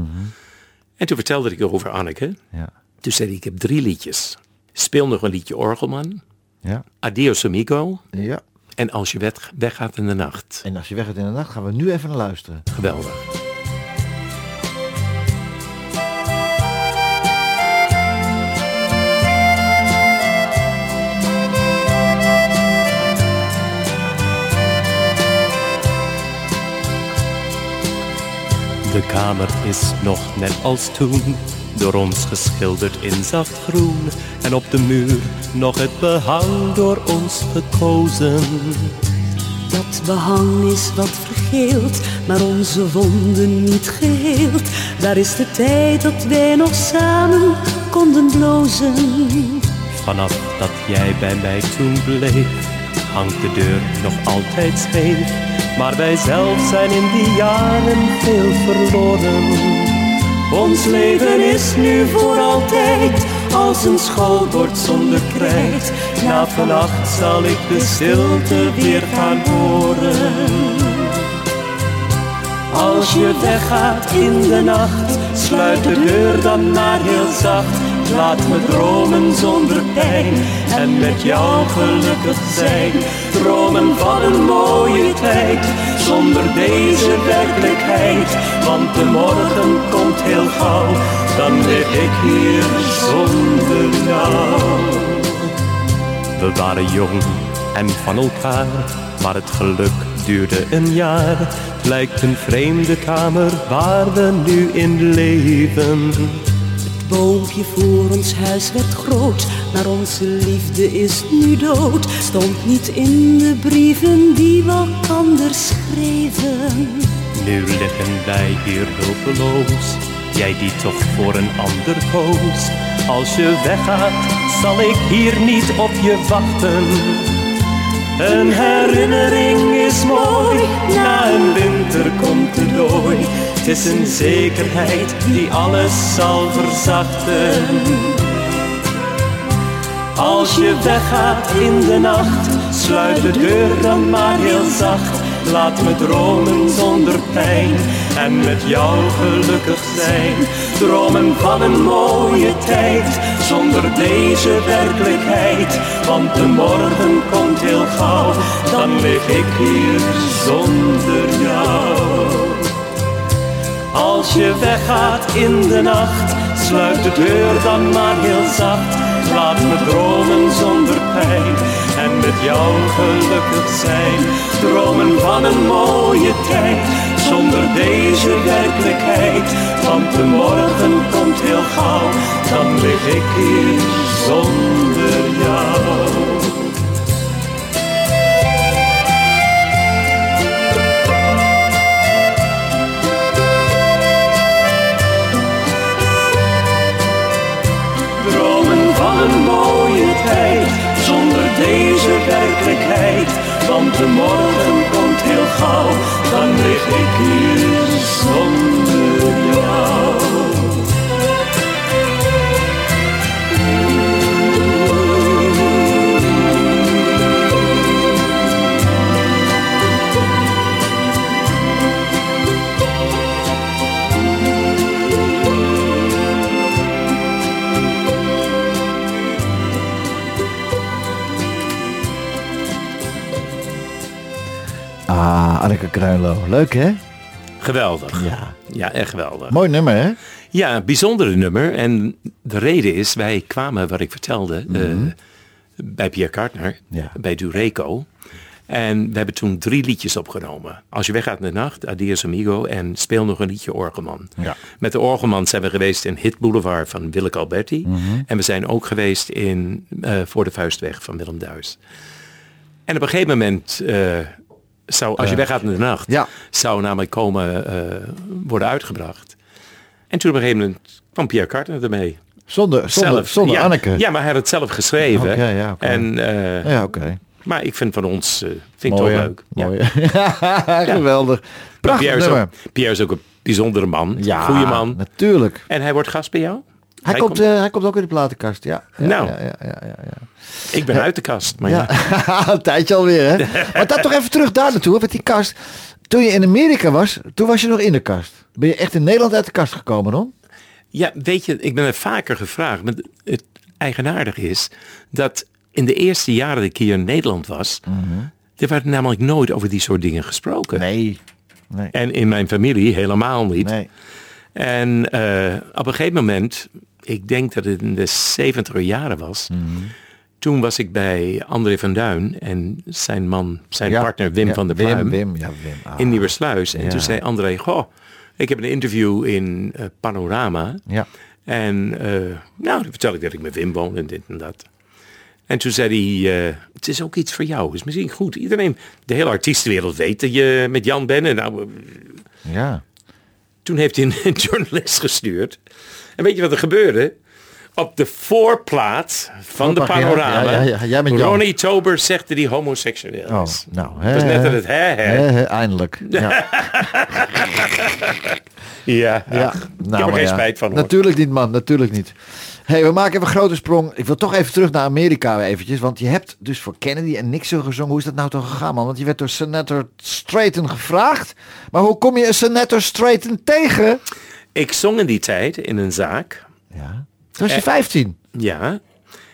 Speaker 5: En toen vertelde ik over Anneke.
Speaker 2: Ja.
Speaker 5: Toen zei hij, ik heb drie liedjes. Speel nog een liedje Orgelman.
Speaker 2: Ja.
Speaker 5: Adios amigo.
Speaker 2: ja.
Speaker 5: En als je weg- weggaat in de nacht.
Speaker 2: En als je weg gaat in de nacht, gaan we nu even naar luisteren.
Speaker 5: Geweldig.
Speaker 4: De kamer is nog net als toen, door ons geschilderd in zacht groen. En op de muur nog het behang door ons gekozen.
Speaker 9: Dat behang is wat vergeeld, maar onze wonden niet geheeld. Daar is de tijd dat wij nog samen konden blozen.
Speaker 4: Vanaf dat jij bij mij toen bleef, hangt de deur nog altijd scheef. Maar wij zelf zijn in die jaren veel verloren. Ons leven is nu voor altijd als een schoolbord zonder krijt. Na vannacht zal ik de stilte weer gaan horen. Als je weggaat in de nacht, sluit de deur dan maar heel zacht. Laat me dromen zonder pijn en met jou gelukkig zijn. Dromen van een mooie tijd, zonder deze werkelijkheid. Want de morgen komt heel gauw, dan leef ik hier zonder jou. We waren jong en van elkaar, maar het geluk duurde een jaar. Het lijkt een vreemde kamer waar we nu in leven.
Speaker 9: Boompje voor ons huis werd groot, maar onze liefde is nu dood. Stond niet in de brieven die we elkander schreven.
Speaker 4: Nu liggen wij hier hulpeloos, jij die toch voor een ander koos. Als je weggaat, zal ik hier niet op je wachten. Een herinnering is mooi, na een winter komt de dooi. Het is een zekerheid die alles zal verzachten. Als je weggaat in de nacht, sluit de deur dan maar heel zacht. Laat me dromen zonder pijn en met jou gelukkig zijn. Dromen van een mooie tijd, zonder deze werkelijkheid. Want de morgen komt heel gauw, dan leef ik hier zonder jou. Als je weggaat in de nacht, sluit de deur dan maar heel zacht. Laat me dromen zonder pijn en met jou gelukkig zijn. Dromen van een mooie tijd, zonder deze werkelijkheid. Want de morgen komt heel gauw, dan lig ik hier zonder jou. dromen van een mooie tijd zonder deze werkelijkheid. Want de morgen komt heel gauw, dan lig ik hier zonder jou.
Speaker 2: Ah, Anneke Kruinlo. Leuk, hè?
Speaker 5: Geweldig.
Speaker 2: Ja.
Speaker 5: Ja, echt geweldig.
Speaker 2: Mooi nummer, hè?
Speaker 5: Ja, een bijzondere nummer. En de reden is, wij kwamen, wat ik vertelde, eh, bij Pierre Kartner,
Speaker 2: Mhm. Ja.
Speaker 5: bij Dureco. En we hebben toen drie liedjes opgenomen. Als je weggaat in de nacht, Adios Amigo en Speel nog een liedje Orgelman.
Speaker 2: Ja.
Speaker 5: Met de Orgelman zijn we geweest in Hit Boulevard van Willeke Alberti.
Speaker 2: Mhm.
Speaker 5: En we zijn ook geweest in eh, Voor de Vuistweg van Willem Duis. En op een gegeven moment, eh, zou, als je weggaat in de nacht,
Speaker 2: Eh, ja.
Speaker 5: zou namelijk komen eh, worden uitgebracht. En toen op een gegeven moment kwam Pierre Carter ermee.
Speaker 2: Zonder, zonder,
Speaker 5: zelf.
Speaker 2: zonder
Speaker 5: ja,
Speaker 2: Anneke.
Speaker 5: Ja, maar hij had het zelf geschreven.
Speaker 2: Oké, ja, oké.
Speaker 5: en, eh,
Speaker 2: Ja, oké.
Speaker 5: Maar ik vind van ons, eh, vind ik
Speaker 2: Mooi,
Speaker 5: toch
Speaker 2: hè?
Speaker 5: leuk. Ja.
Speaker 2: Mooi. *laughs* Geweldig.
Speaker 5: Maar
Speaker 2: Prachtig
Speaker 5: Pierre, is
Speaker 2: nummer.
Speaker 5: ook, Pierre is ook een bijzondere man.
Speaker 2: Ja,
Speaker 5: goede man.
Speaker 2: natuurlijk.
Speaker 5: En hij wordt gast bij jou?
Speaker 2: Hij, komt, eh, hij komt ook in de platenkast, ja. Ja,
Speaker 5: Nou.
Speaker 2: Ja, ja, ja, ja, ja.
Speaker 5: Ik ben uit de kast. Maar ja.
Speaker 2: eh, Ja, *laughs* een tijdje
Speaker 5: *laughs*
Speaker 2: alweer, hè? Maar dat toch even terug daar naartoe, hè, met die kast. Toen je in Amerika was, toen was je nog in de kast. Ben je echt in Nederland uit de kast gekomen, dan?
Speaker 5: Ja, weet je, ik ben er vaker gevraagd. Maar het eigenaardig is dat in de eerste jaren dat ik hier in Nederland was, er werd namelijk nooit over die soort dingen gesproken.
Speaker 2: Mhm. Nee.
Speaker 5: En in mijn familie helemaal niet.
Speaker 2: Nee.
Speaker 5: En eh, op een gegeven moment, ik denk dat het in de 70 jaren was.
Speaker 2: Mhm.
Speaker 5: Toen was ik bij André van Duin en zijn man, zijn
Speaker 2: Ja.
Speaker 5: partner Wim
Speaker 2: Ja,
Speaker 5: van der
Speaker 2: Wim,
Speaker 5: Pluim
Speaker 2: Wim, ja, Wim. Ah.
Speaker 5: in Nieuwersluis. En
Speaker 2: Ja.
Speaker 5: toen zei André, goh, ik heb een interview in eh, Panorama.
Speaker 2: Ja.
Speaker 5: En eh, nou, dan vertel ik dat ik met Wim woon en dit en dat. En toen zei hij, eh, het is ook iets voor jou. is misschien goed. Iedereen, de hele artiestenwereld weet dat je met Jan bent. En nou, eh,
Speaker 2: Ja.
Speaker 5: toen heeft hij een *laughs* journalist gestuurd. En weet je wat er gebeurde? Op de voorplaat van de
Speaker 2: Voorpagina,
Speaker 5: panorama.
Speaker 2: Oh, ja, ja, ja, jij bent Jan.
Speaker 5: Ronnie Tober zegt dat hij homoseksueel
Speaker 2: Oh,
Speaker 5: is.
Speaker 2: nou.
Speaker 5: Dat is net dat Dus het hè, hè.
Speaker 2: hè, hè,
Speaker 5: *laughs*
Speaker 2: Eindelijk. Ja,
Speaker 5: Ja,
Speaker 2: ja. Nou,
Speaker 5: ach, ik heb
Speaker 2: maar
Speaker 5: er geen
Speaker 2: ja.
Speaker 5: spijt van. hoor.
Speaker 2: Natuurlijk niet, man. Natuurlijk niet. hey, we maken even een grote sprong. Ik wil toch even terug naar Amerika eventjes. Want je hebt dus voor Kennedy en Nixon gezongen. Hoe is dat nou toch gegaan, man? Want je werd door Senator Straighten gevraagd. Maar hoe kom je een Senator Straighten tegen?
Speaker 5: Ik zong in die tijd in een zaak.
Speaker 2: Ja. Toen was
Speaker 5: Eh.
Speaker 2: je 15.
Speaker 5: Ja.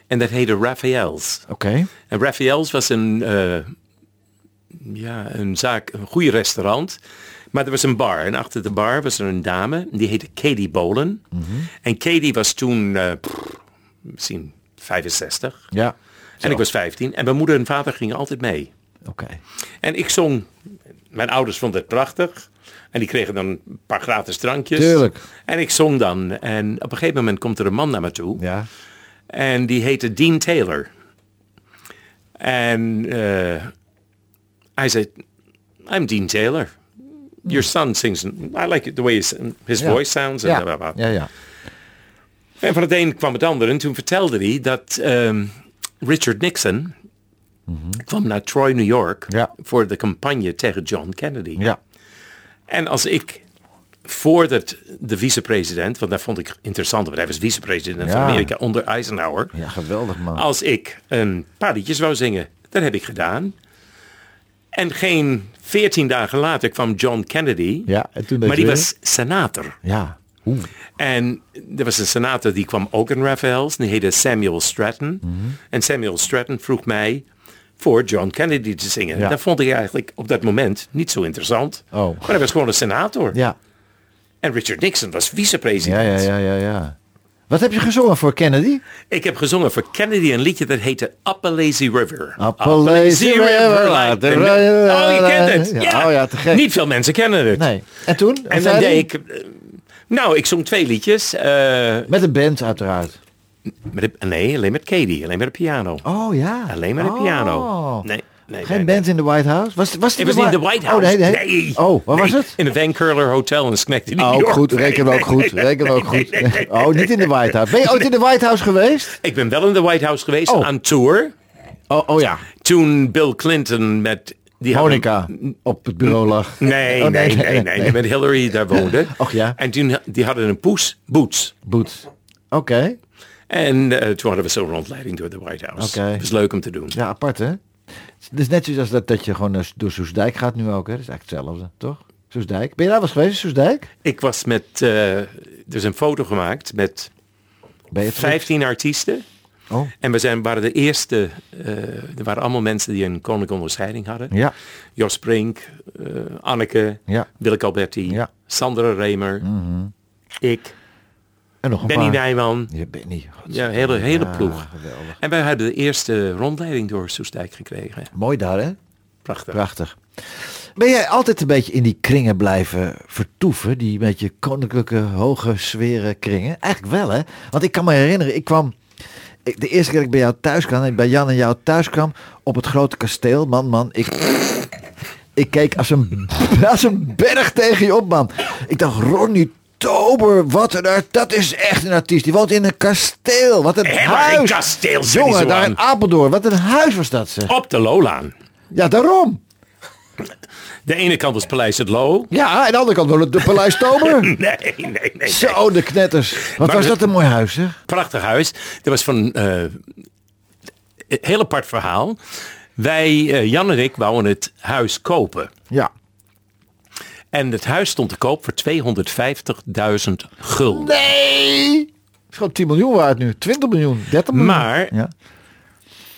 Speaker 5: En dat heette Raphaëls.
Speaker 2: Oké.
Speaker 5: En Raphaëls was een, eh, ja, een zaak, een goede restaurant. Maar er was een bar. En achter de bar was er een dame. Die heette Katie Bolen. En Katie was toen eh, pff, misschien 65.
Speaker 2: Ja.
Speaker 5: En ik was 15. En mijn moeder en vader gingen altijd mee.
Speaker 2: Oké.
Speaker 5: En ik zong. Mijn ouders vonden het prachtig. En die kregen dan een paar gratis drankjes.
Speaker 2: Tuurlijk.
Speaker 5: En ik zong dan. En op een gegeven moment komt er een man naar me toe.
Speaker 2: Ja.
Speaker 5: En die heette Dean Taylor. En eh, hij zei, I'm Dean Taylor. Your son sings, I like it the way his, his
Speaker 2: Ja.
Speaker 5: voice sounds. En, bla, bla,
Speaker 2: Ja.
Speaker 5: bla.
Speaker 2: Ja, ja.
Speaker 5: en van het een kwam het ander. En toen vertelde hij dat ehm, Richard Nixon kwam naar Troy, New York...
Speaker 2: Mhm. Ja.
Speaker 5: voor de campagne tegen John Kennedy.
Speaker 2: Ja.
Speaker 5: En als ik voordat de vicepresident, want dat vond ik interessant, want hij was vicepresident van
Speaker 2: Ja.
Speaker 5: Amerika onder Eisenhower.
Speaker 2: Ja, geweldig, man.
Speaker 5: Als ik een paar liedjes wou zingen, dat heb ik gedaan. En geen veertien dagen later kwam John Kennedy.
Speaker 2: Ja, en toen deed
Speaker 5: maar die
Speaker 2: je-
Speaker 5: was senator.
Speaker 2: Ja. Oeh.
Speaker 5: En er was een senator die kwam ook in Raphaëls. Die heette Samuel Stratton.
Speaker 2: Mhm.
Speaker 5: En Samuel Stratton vroeg mij voor John Kennedy te zingen.
Speaker 2: Ja.
Speaker 5: Dat vond ik eigenlijk op dat moment niet zo interessant.
Speaker 2: Oh.
Speaker 5: Maar hij was gewoon een senator.
Speaker 2: Ja.
Speaker 5: En Richard Nixon was
Speaker 2: Ja,
Speaker 5: vicepresident.
Speaker 2: ja, ja, ja, ja. Wat heb je gezongen voor Kennedy?
Speaker 5: Ik heb gezongen voor Kennedy een liedje dat heette Appalachian River.
Speaker 2: Appalachian River,
Speaker 5: like the-
Speaker 2: la- la-
Speaker 5: Oh, je kent
Speaker 2: la-
Speaker 5: het.
Speaker 2: Ja,
Speaker 5: Ja.
Speaker 2: oh ja, te gek.
Speaker 5: Niet veel mensen kennen het.
Speaker 2: Nee. En toen? Wat
Speaker 5: En
Speaker 2: zei
Speaker 5: dan
Speaker 2: die?
Speaker 5: deed ik... eh, Nou, ik zong twee liedjes. eh,
Speaker 2: Met een band uiteraard.
Speaker 5: met de- nee, alleen met Katie. Alleen met de piano.
Speaker 2: Oh ja.
Speaker 5: Alleen maar de piano.
Speaker 2: Oh.
Speaker 5: Nee, nee,
Speaker 2: Geen
Speaker 5: nee,
Speaker 2: band in de White House? Was, was
Speaker 5: Het was niet de White House.
Speaker 2: Oh, nee, nee. Oh, wat
Speaker 5: Nee,
Speaker 2: was het?
Speaker 5: In het Van Curler Hotel in Schenectady,
Speaker 2: Oh,
Speaker 5: New York.
Speaker 2: goed. Reken we ook goed. Reken we ook goed. Oh, niet in de White House. Ben je ooit in de White House geweest?
Speaker 5: Ik ben wel in de White House geweest
Speaker 2: Oh.
Speaker 5: aan tour.
Speaker 2: Oh, oh ja.
Speaker 5: Toen Bill Clinton met... Die had een-
Speaker 2: Monica op het bureau lag.
Speaker 5: Nee,
Speaker 2: Oh,
Speaker 5: nee, nee, nee,
Speaker 2: nee.
Speaker 5: Met Hillary daar woonde.
Speaker 2: *laughs* Och ja.
Speaker 5: En toen, die hadden een poes, Boots.
Speaker 2: Boet. Oké.
Speaker 5: En eh, toen hadden we zo'n rondleiding door de White House.
Speaker 2: Oké.
Speaker 5: Dat is leuk om te doen.
Speaker 2: Ja, apart hè? Het is net zoiets als dat, dat je gewoon eh, door Soesdijk gaat nu ook hè? Dat is eigenlijk hetzelfde, toch? Soesdijk. Ben je daar wel eens geweest, Soesdijk?
Speaker 5: Ik was met, eh, er is een foto gemaakt met
Speaker 2: Ben je
Speaker 5: 15 artiesten.
Speaker 2: Oh.
Speaker 5: En we zijn, waren de eerste, eh, er waren allemaal mensen die een koninklijke onderscheiding hadden.
Speaker 2: Ja.
Speaker 5: Jos Brink, eh, Anneke,
Speaker 2: Ja.
Speaker 5: Willeke Alberti,
Speaker 2: Ja. Mhm.
Speaker 5: Sandra Remer, ik,
Speaker 2: En nog een
Speaker 5: Benny
Speaker 2: paar.
Speaker 5: Nijman.
Speaker 2: Je bent niet.
Speaker 5: Ja, hele, hele
Speaker 2: Ja,
Speaker 5: ploeg.
Speaker 2: geweldig.
Speaker 5: En wij hadden de eerste rondleiding door Soestdijk gekregen.
Speaker 2: Mooi daar, hè?
Speaker 5: Prachtig.
Speaker 2: Prachtig. Ben jij altijd een beetje in die kringen blijven vertoeven? Die beetje koninklijke, hoge sferen kringen? Eigenlijk wel, hè? Want ik kan me herinneren, ik kwam... ik- de eerste keer dat ik bij jou thuis kwam, en bij Jan en jou thuis kwam... op het grote kasteel, man, man, ik... Ik keek als een, *laughs* als een berg tegen je op, man. Ik dacht, Ronnie Tober, wat een art- Dat is echt een artiest. Die woont in een kasteel. Wat een
Speaker 5: Helemaal geen
Speaker 2: huis.
Speaker 5: kasteel, zeg niet
Speaker 2: Jongen,
Speaker 5: zo
Speaker 2: daar
Speaker 5: aan.
Speaker 2: in Apeldoorn. Wat een huis was dat, zeg.
Speaker 5: Op de Lolaan.
Speaker 2: Ja, daarom.
Speaker 5: De ene kant was Paleis het
Speaker 2: *laughs*
Speaker 5: Loo.
Speaker 2: Ja, en de andere kant wel het de Paleis
Speaker 5: *laughs*
Speaker 2: Tober.
Speaker 5: Nee, nee, nee. nee.
Speaker 2: Zo, de knetters. Wat
Speaker 5: Maar
Speaker 2: was
Speaker 5: de-
Speaker 2: dat een mooi huis, hè?
Speaker 5: Prachtig huis. Dat was van... eh, een heel apart verhaal. Wij, eh, Jan en ik, wouden het huis kopen.
Speaker 2: Ja.
Speaker 5: En het huis stond te koop voor 250.000 gulden.
Speaker 2: Nee! Het is gewoon 10 miljoen waard nu. 20 miljoen, 30 miljoen.
Speaker 5: Maar-
Speaker 2: Ja.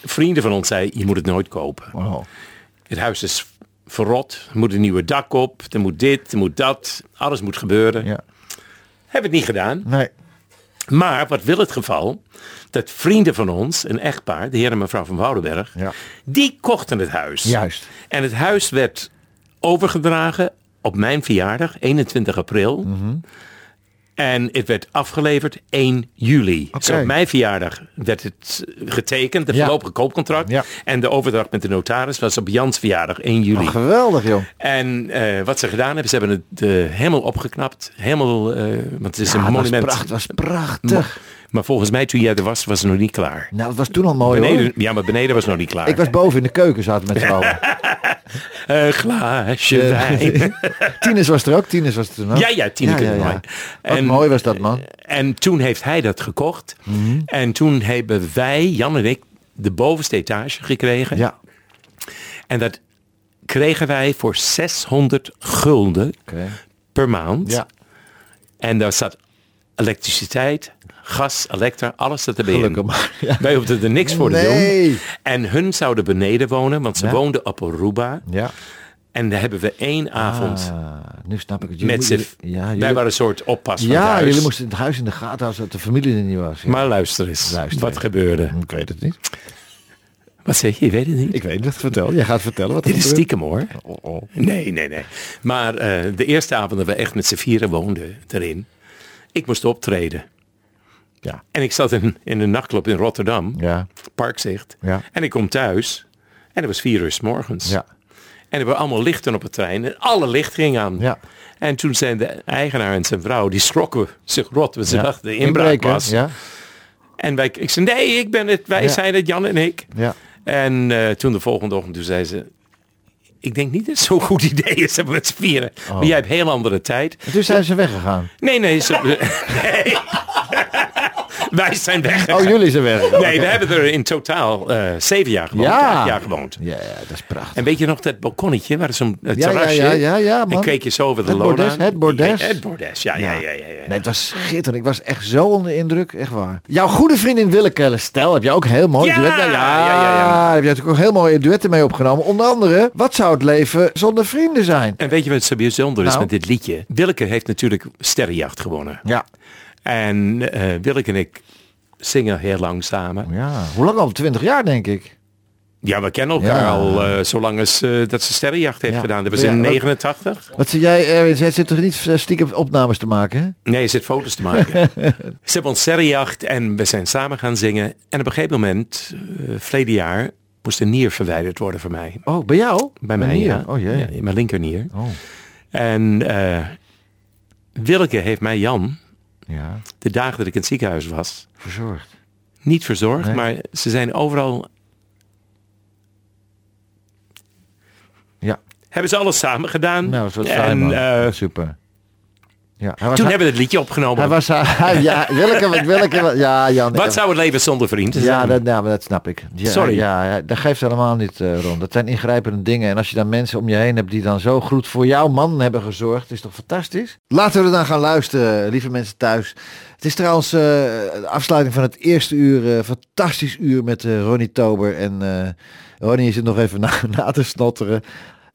Speaker 5: Vrienden van ons zeiden, je moet het nooit kopen.
Speaker 2: Wow.
Speaker 5: Het huis is verrot. Er moet een nieuwe dak op. Er moet dit, er moet dat. Alles moet gebeuren.
Speaker 2: Ja.
Speaker 5: Hebben het niet gedaan.
Speaker 2: Nee.
Speaker 5: Maar wat wil het geval? Dat vrienden van ons, een echtpaar, de heer en mevrouw van Woudenberg,
Speaker 2: Ja.
Speaker 5: die kochten het huis.
Speaker 2: Juist.
Speaker 5: En het huis werd overgedragen op mijn verjaardag, 21 april.
Speaker 2: Mhm.
Speaker 5: En het werd afgeleverd 1 juli.
Speaker 2: Oké.
Speaker 5: Dus op mijn verjaardag werd het getekend, het
Speaker 2: Ja.
Speaker 5: voorlopige koopcontract.
Speaker 2: Ja.
Speaker 5: En de overdracht met de notaris was op Jans verjaardag, 1 juli.
Speaker 2: Oh, geweldig, joh.
Speaker 5: En eh, wat ze gedaan hebben, ze hebben het eh, helemaal opgeknapt. Helemaal, eh, want het is
Speaker 2: Ja,
Speaker 5: een
Speaker 2: Ah, dat was
Speaker 5: monument.
Speaker 2: prachtig. was prachtig.
Speaker 5: Maar volgens mij toen jij er was, was het nog niet klaar.
Speaker 2: Nou, dat was toen al mooi,
Speaker 5: Beneden,
Speaker 2: hoor.
Speaker 5: ja, maar beneden was nog niet klaar.
Speaker 2: Ik was boven in de keuken, zaten met vrouwen.
Speaker 5: Een glaasje
Speaker 2: *laughs*
Speaker 5: wijn.
Speaker 2: Tienes was er ook. Tienes was er toen ook.
Speaker 5: Ja, Eh, ja, Tineke
Speaker 2: Ja, ja, ja.
Speaker 5: Wijn.
Speaker 2: Wat mooi Mhm. was dat, man.
Speaker 5: En toen heeft hij dat gekocht. En toen hebben wij, Jan en ik, de bovenste etage gekregen.
Speaker 2: Ja.
Speaker 5: En dat kregen wij voor 600 gulden
Speaker 2: Oké.
Speaker 5: per maand.
Speaker 2: Ja.
Speaker 5: En daar zat elektriciteit, gas, elektra, alles zat erbij in.
Speaker 2: Gelukkig maar. Ja.
Speaker 5: Wij hoefden er niks voor te
Speaker 2: Nee.
Speaker 5: doen. En hun zouden beneden wonen, want ze woonden op Aruba.
Speaker 2: Ja.
Speaker 5: En daar hebben we één avond
Speaker 2: Ah, nu snap ik het. Jullie
Speaker 5: met
Speaker 2: moeten-
Speaker 5: ze...
Speaker 2: Ja,
Speaker 5: wij
Speaker 2: jullie,
Speaker 5: waren een soort oppas van het
Speaker 2: ja,
Speaker 5: huis.
Speaker 2: jullie moesten het huis in de gaten houden zodat de familie er niet was. Ja.
Speaker 5: Maar luister eens,
Speaker 2: Luister
Speaker 5: wat
Speaker 2: even.
Speaker 5: gebeurde?
Speaker 2: ik weet het niet.
Speaker 5: Wat zeg je? Je weet het niet.
Speaker 2: Ik weet het. Vertel. Jij gaat vertellen wat er
Speaker 5: Dit is
Speaker 2: gebeurt.
Speaker 5: stiekem hoor.
Speaker 2: Oh, oh.
Speaker 5: Nee, nee, nee. Maar eh, de eerste avond dat we echt met z'n vieren woonden erin, ik moest optreden.
Speaker 2: Ja.
Speaker 5: En ik zat in, in een nachtclub in Rotterdam,
Speaker 2: Ja.
Speaker 5: Parkzicht.
Speaker 2: Ja.
Speaker 5: En ik kom thuis en het was vier uur s morgens.
Speaker 2: Ja.
Speaker 5: En er waren allemaal lichten op het trein. En alle licht ging aan.
Speaker 2: Ja.
Speaker 5: En toen zijn de eigenaar en zijn vrouw, die schrokken zich rot. Want ze
Speaker 2: Ja.
Speaker 5: dachten de inbraak
Speaker 2: Inbreken,
Speaker 5: was.
Speaker 2: Ja.
Speaker 5: En wij, ik zei, nee, ik ben het. Wij
Speaker 2: Ja.
Speaker 5: zijn het, Jan en ik.
Speaker 2: Ja.
Speaker 5: En eh, toen de volgende ochtend, toen zei ze... Ik denk niet dat het zo'n goed idee is dat we met z'n vieren.
Speaker 2: Oh.
Speaker 5: Maar jij hebt heel andere tijd.
Speaker 2: En toen zijn ze weggegaan.
Speaker 5: Nee, nee. Ze, *laughs* nee. Wij zijn weg.
Speaker 2: Oh, jullie zijn weg.
Speaker 5: Nee, we hebben er in totaal eh, zeven jaar gewoond.
Speaker 2: Ja.
Speaker 5: Acht jaar gewoond.
Speaker 2: Ja, ja, dat is prachtig.
Speaker 5: En weet je nog dat balkonnetje? Waar zo'n eh,
Speaker 2: Ja, ja,
Speaker 5: terrasje?
Speaker 2: ja, ja, ja, man.
Speaker 5: En keek je zo over de
Speaker 2: Het
Speaker 5: Lola.
Speaker 2: bordes, het bordes.
Speaker 5: Het bordes, ja, ja, ja. ja, ja.
Speaker 2: Nee, het was schitterend. Ik was echt zo onder indruk. Echt waar. Jouw goede vriendin Willeke Stel heb je ook heel mooi
Speaker 5: Ja!
Speaker 2: duet. mee-
Speaker 5: Ja, ja, ja.
Speaker 2: daar heb je natuurlijk ook heel mooie duetten mee opgenomen. Onder andere, wat zou het leven zonder vrienden zijn?
Speaker 5: En weet je wat zo bijzonder is
Speaker 2: Nou?
Speaker 5: met dit liedje? Willeke heeft natuurlijk Sterrenjacht gewonnen.
Speaker 2: Ja.
Speaker 5: En eh Willeke en ik zingen heel lang samen.
Speaker 2: Ja. Hoe lang al? Twintig jaar, denk ik.
Speaker 5: Ja, we kennen elkaar
Speaker 2: Ja.
Speaker 5: al eh zolang als eh, dat ze Sterrenjacht heeft
Speaker 2: Ja.
Speaker 5: gedaan. Dat was
Speaker 2: Ja,
Speaker 5: in
Speaker 2: wat-
Speaker 5: 89.
Speaker 2: Wat zie jij, Erwin? Jij zit toch niet eh, stiekem opnames te maken, hè?
Speaker 5: Nee, er zit foto's te
Speaker 2: *laughs*
Speaker 5: maken. ze hebben ons Sterrenjacht en we zijn samen gaan zingen. En op een gegeven moment, eh verleden jaar, moest een nier verwijderd worden voor mij.
Speaker 2: Oh, bij jou?
Speaker 5: Bij mij,
Speaker 2: hier?
Speaker 5: ja.
Speaker 2: Oh, jee.
Speaker 5: Ja, in mijn linkernier.
Speaker 2: Oh,
Speaker 5: En eh, Willeke heeft mij Jan,
Speaker 2: ja.
Speaker 5: de dagen dat ik in het ziekenhuis was,
Speaker 2: Verzorgd.
Speaker 5: niet verzorgd,
Speaker 2: Nee.
Speaker 5: maar ze zijn overal.
Speaker 2: Ja.
Speaker 5: Hebben ze alles samen gedaan?
Speaker 2: Nou, zo saai,
Speaker 5: en
Speaker 2: man.
Speaker 5: eh,
Speaker 2: Super. Ja, hij was,
Speaker 5: toen
Speaker 2: hij,
Speaker 5: hebben we het liedje opgenomen.
Speaker 2: hij was, hij, *laughs* ja, Willeke, Willeke, ja, Jan.
Speaker 5: Wat zou het leven zonder vrienden zijn?
Speaker 2: Ja, dat, ja, maar dat snap ik. Ja,
Speaker 5: Sorry.
Speaker 2: Ja, ja, dat geeft helemaal niet, eh Ron. Dat zijn ingrijpende dingen. En als je dan mensen om je heen hebt die dan zo goed voor jouw man hebben gezorgd, is toch fantastisch? Laten we er dan gaan luisteren, lieve mensen thuis. Het is trouwens eh, de afsluiting van het eerste uur. eh, fantastisch uur met eh, Ronnie Tober. En eh Ronnie is het nog even na, *laughs* na te snotteren.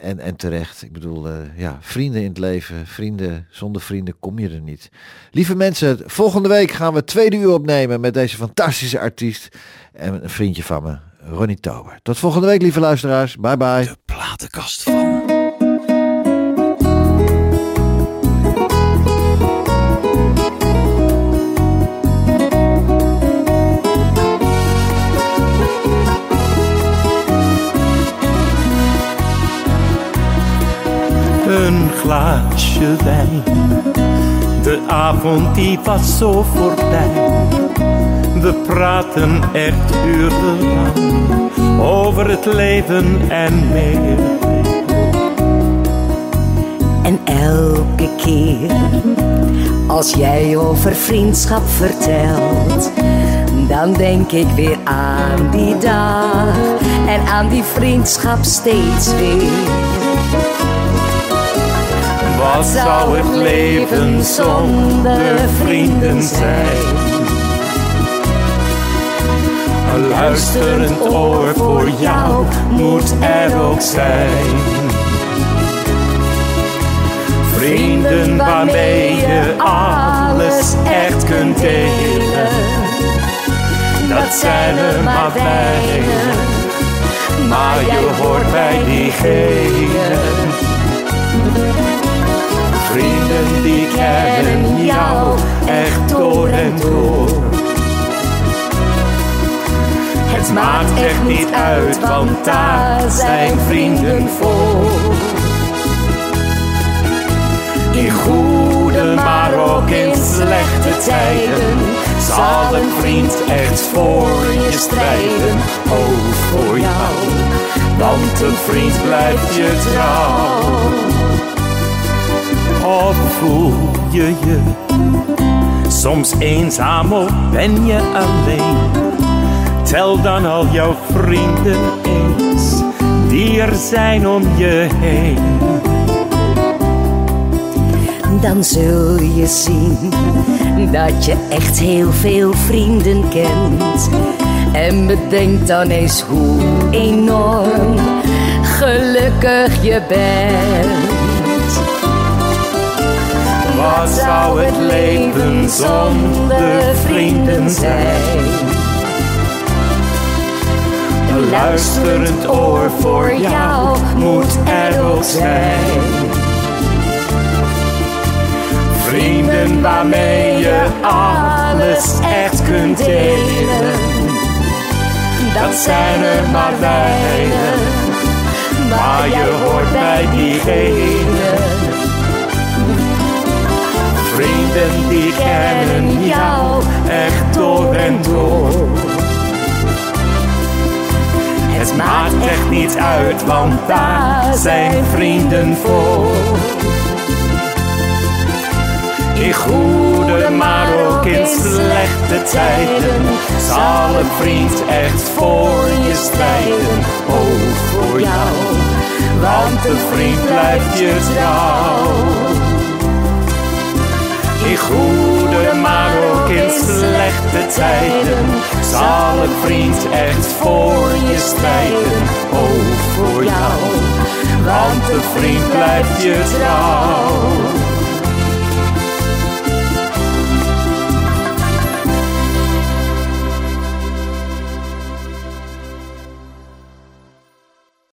Speaker 2: En, en terecht. Ik bedoel, eh, ja, vrienden in het leven. Vrienden, zonder vrienden kom je er niet. Lieve mensen, volgende week gaan we het tweede uur opnemen met deze fantastische artiest. En een vriendje van me, Ronnie Tober. Tot volgende week, lieve luisteraars. Bye bye.
Speaker 1: De platenkast van.
Speaker 4: een glaasje wijn. De avond die was zo voorbij. We praten echt urenlang over het leven en meer.
Speaker 10: En elke keer als jij over vriendschap vertelt, dan denk ik weer aan die dag en aan die vriendschap steeds weer.
Speaker 4: Wat zou het leven zonder vrienden zijn? Een luisterend oor voor jou moet er ook zijn. Vrienden waarmee je alles echt kunt delen. Dat zijn er maar weinig, maar je hoort bij diegenen. Vrienden die kennen jou echt door en door. Het maakt echt niet uit, want daar zijn vrienden voor. In goede, maar ook in slechte tijden zal een vriend echt voor je strijden, ook voor jou. Want een vriend blijft je trouw. Of voel je je soms eenzaam of ben je alleen? Tel dan al jouw vrienden eens die er zijn om je heen.
Speaker 10: Dan zul je zien dat je echt heel veel vrienden kent. En bedenk dan eens hoe enorm gelukkig je bent.
Speaker 4: Wat zou het leven zonder vrienden zijn? Een luisterend oor voor jou moet er ook zijn. Vrienden waarmee je alles echt kunt delen. Dat zijn er maar weinig, maar je hoort bij diegenen. Vrienden die kennen jou echt door en door. Het maakt echt niet uit, want daar zijn vrienden voor. In goede, maar ook in slechte tijden zal een vriend echt voor je strijden, ook voor jou. Want een vriend blijft je trouw. In goede, maar ook in slechte tijden zal een vriend echt voor je strijden, ook voor jou. Want een vriend blijft je trouw.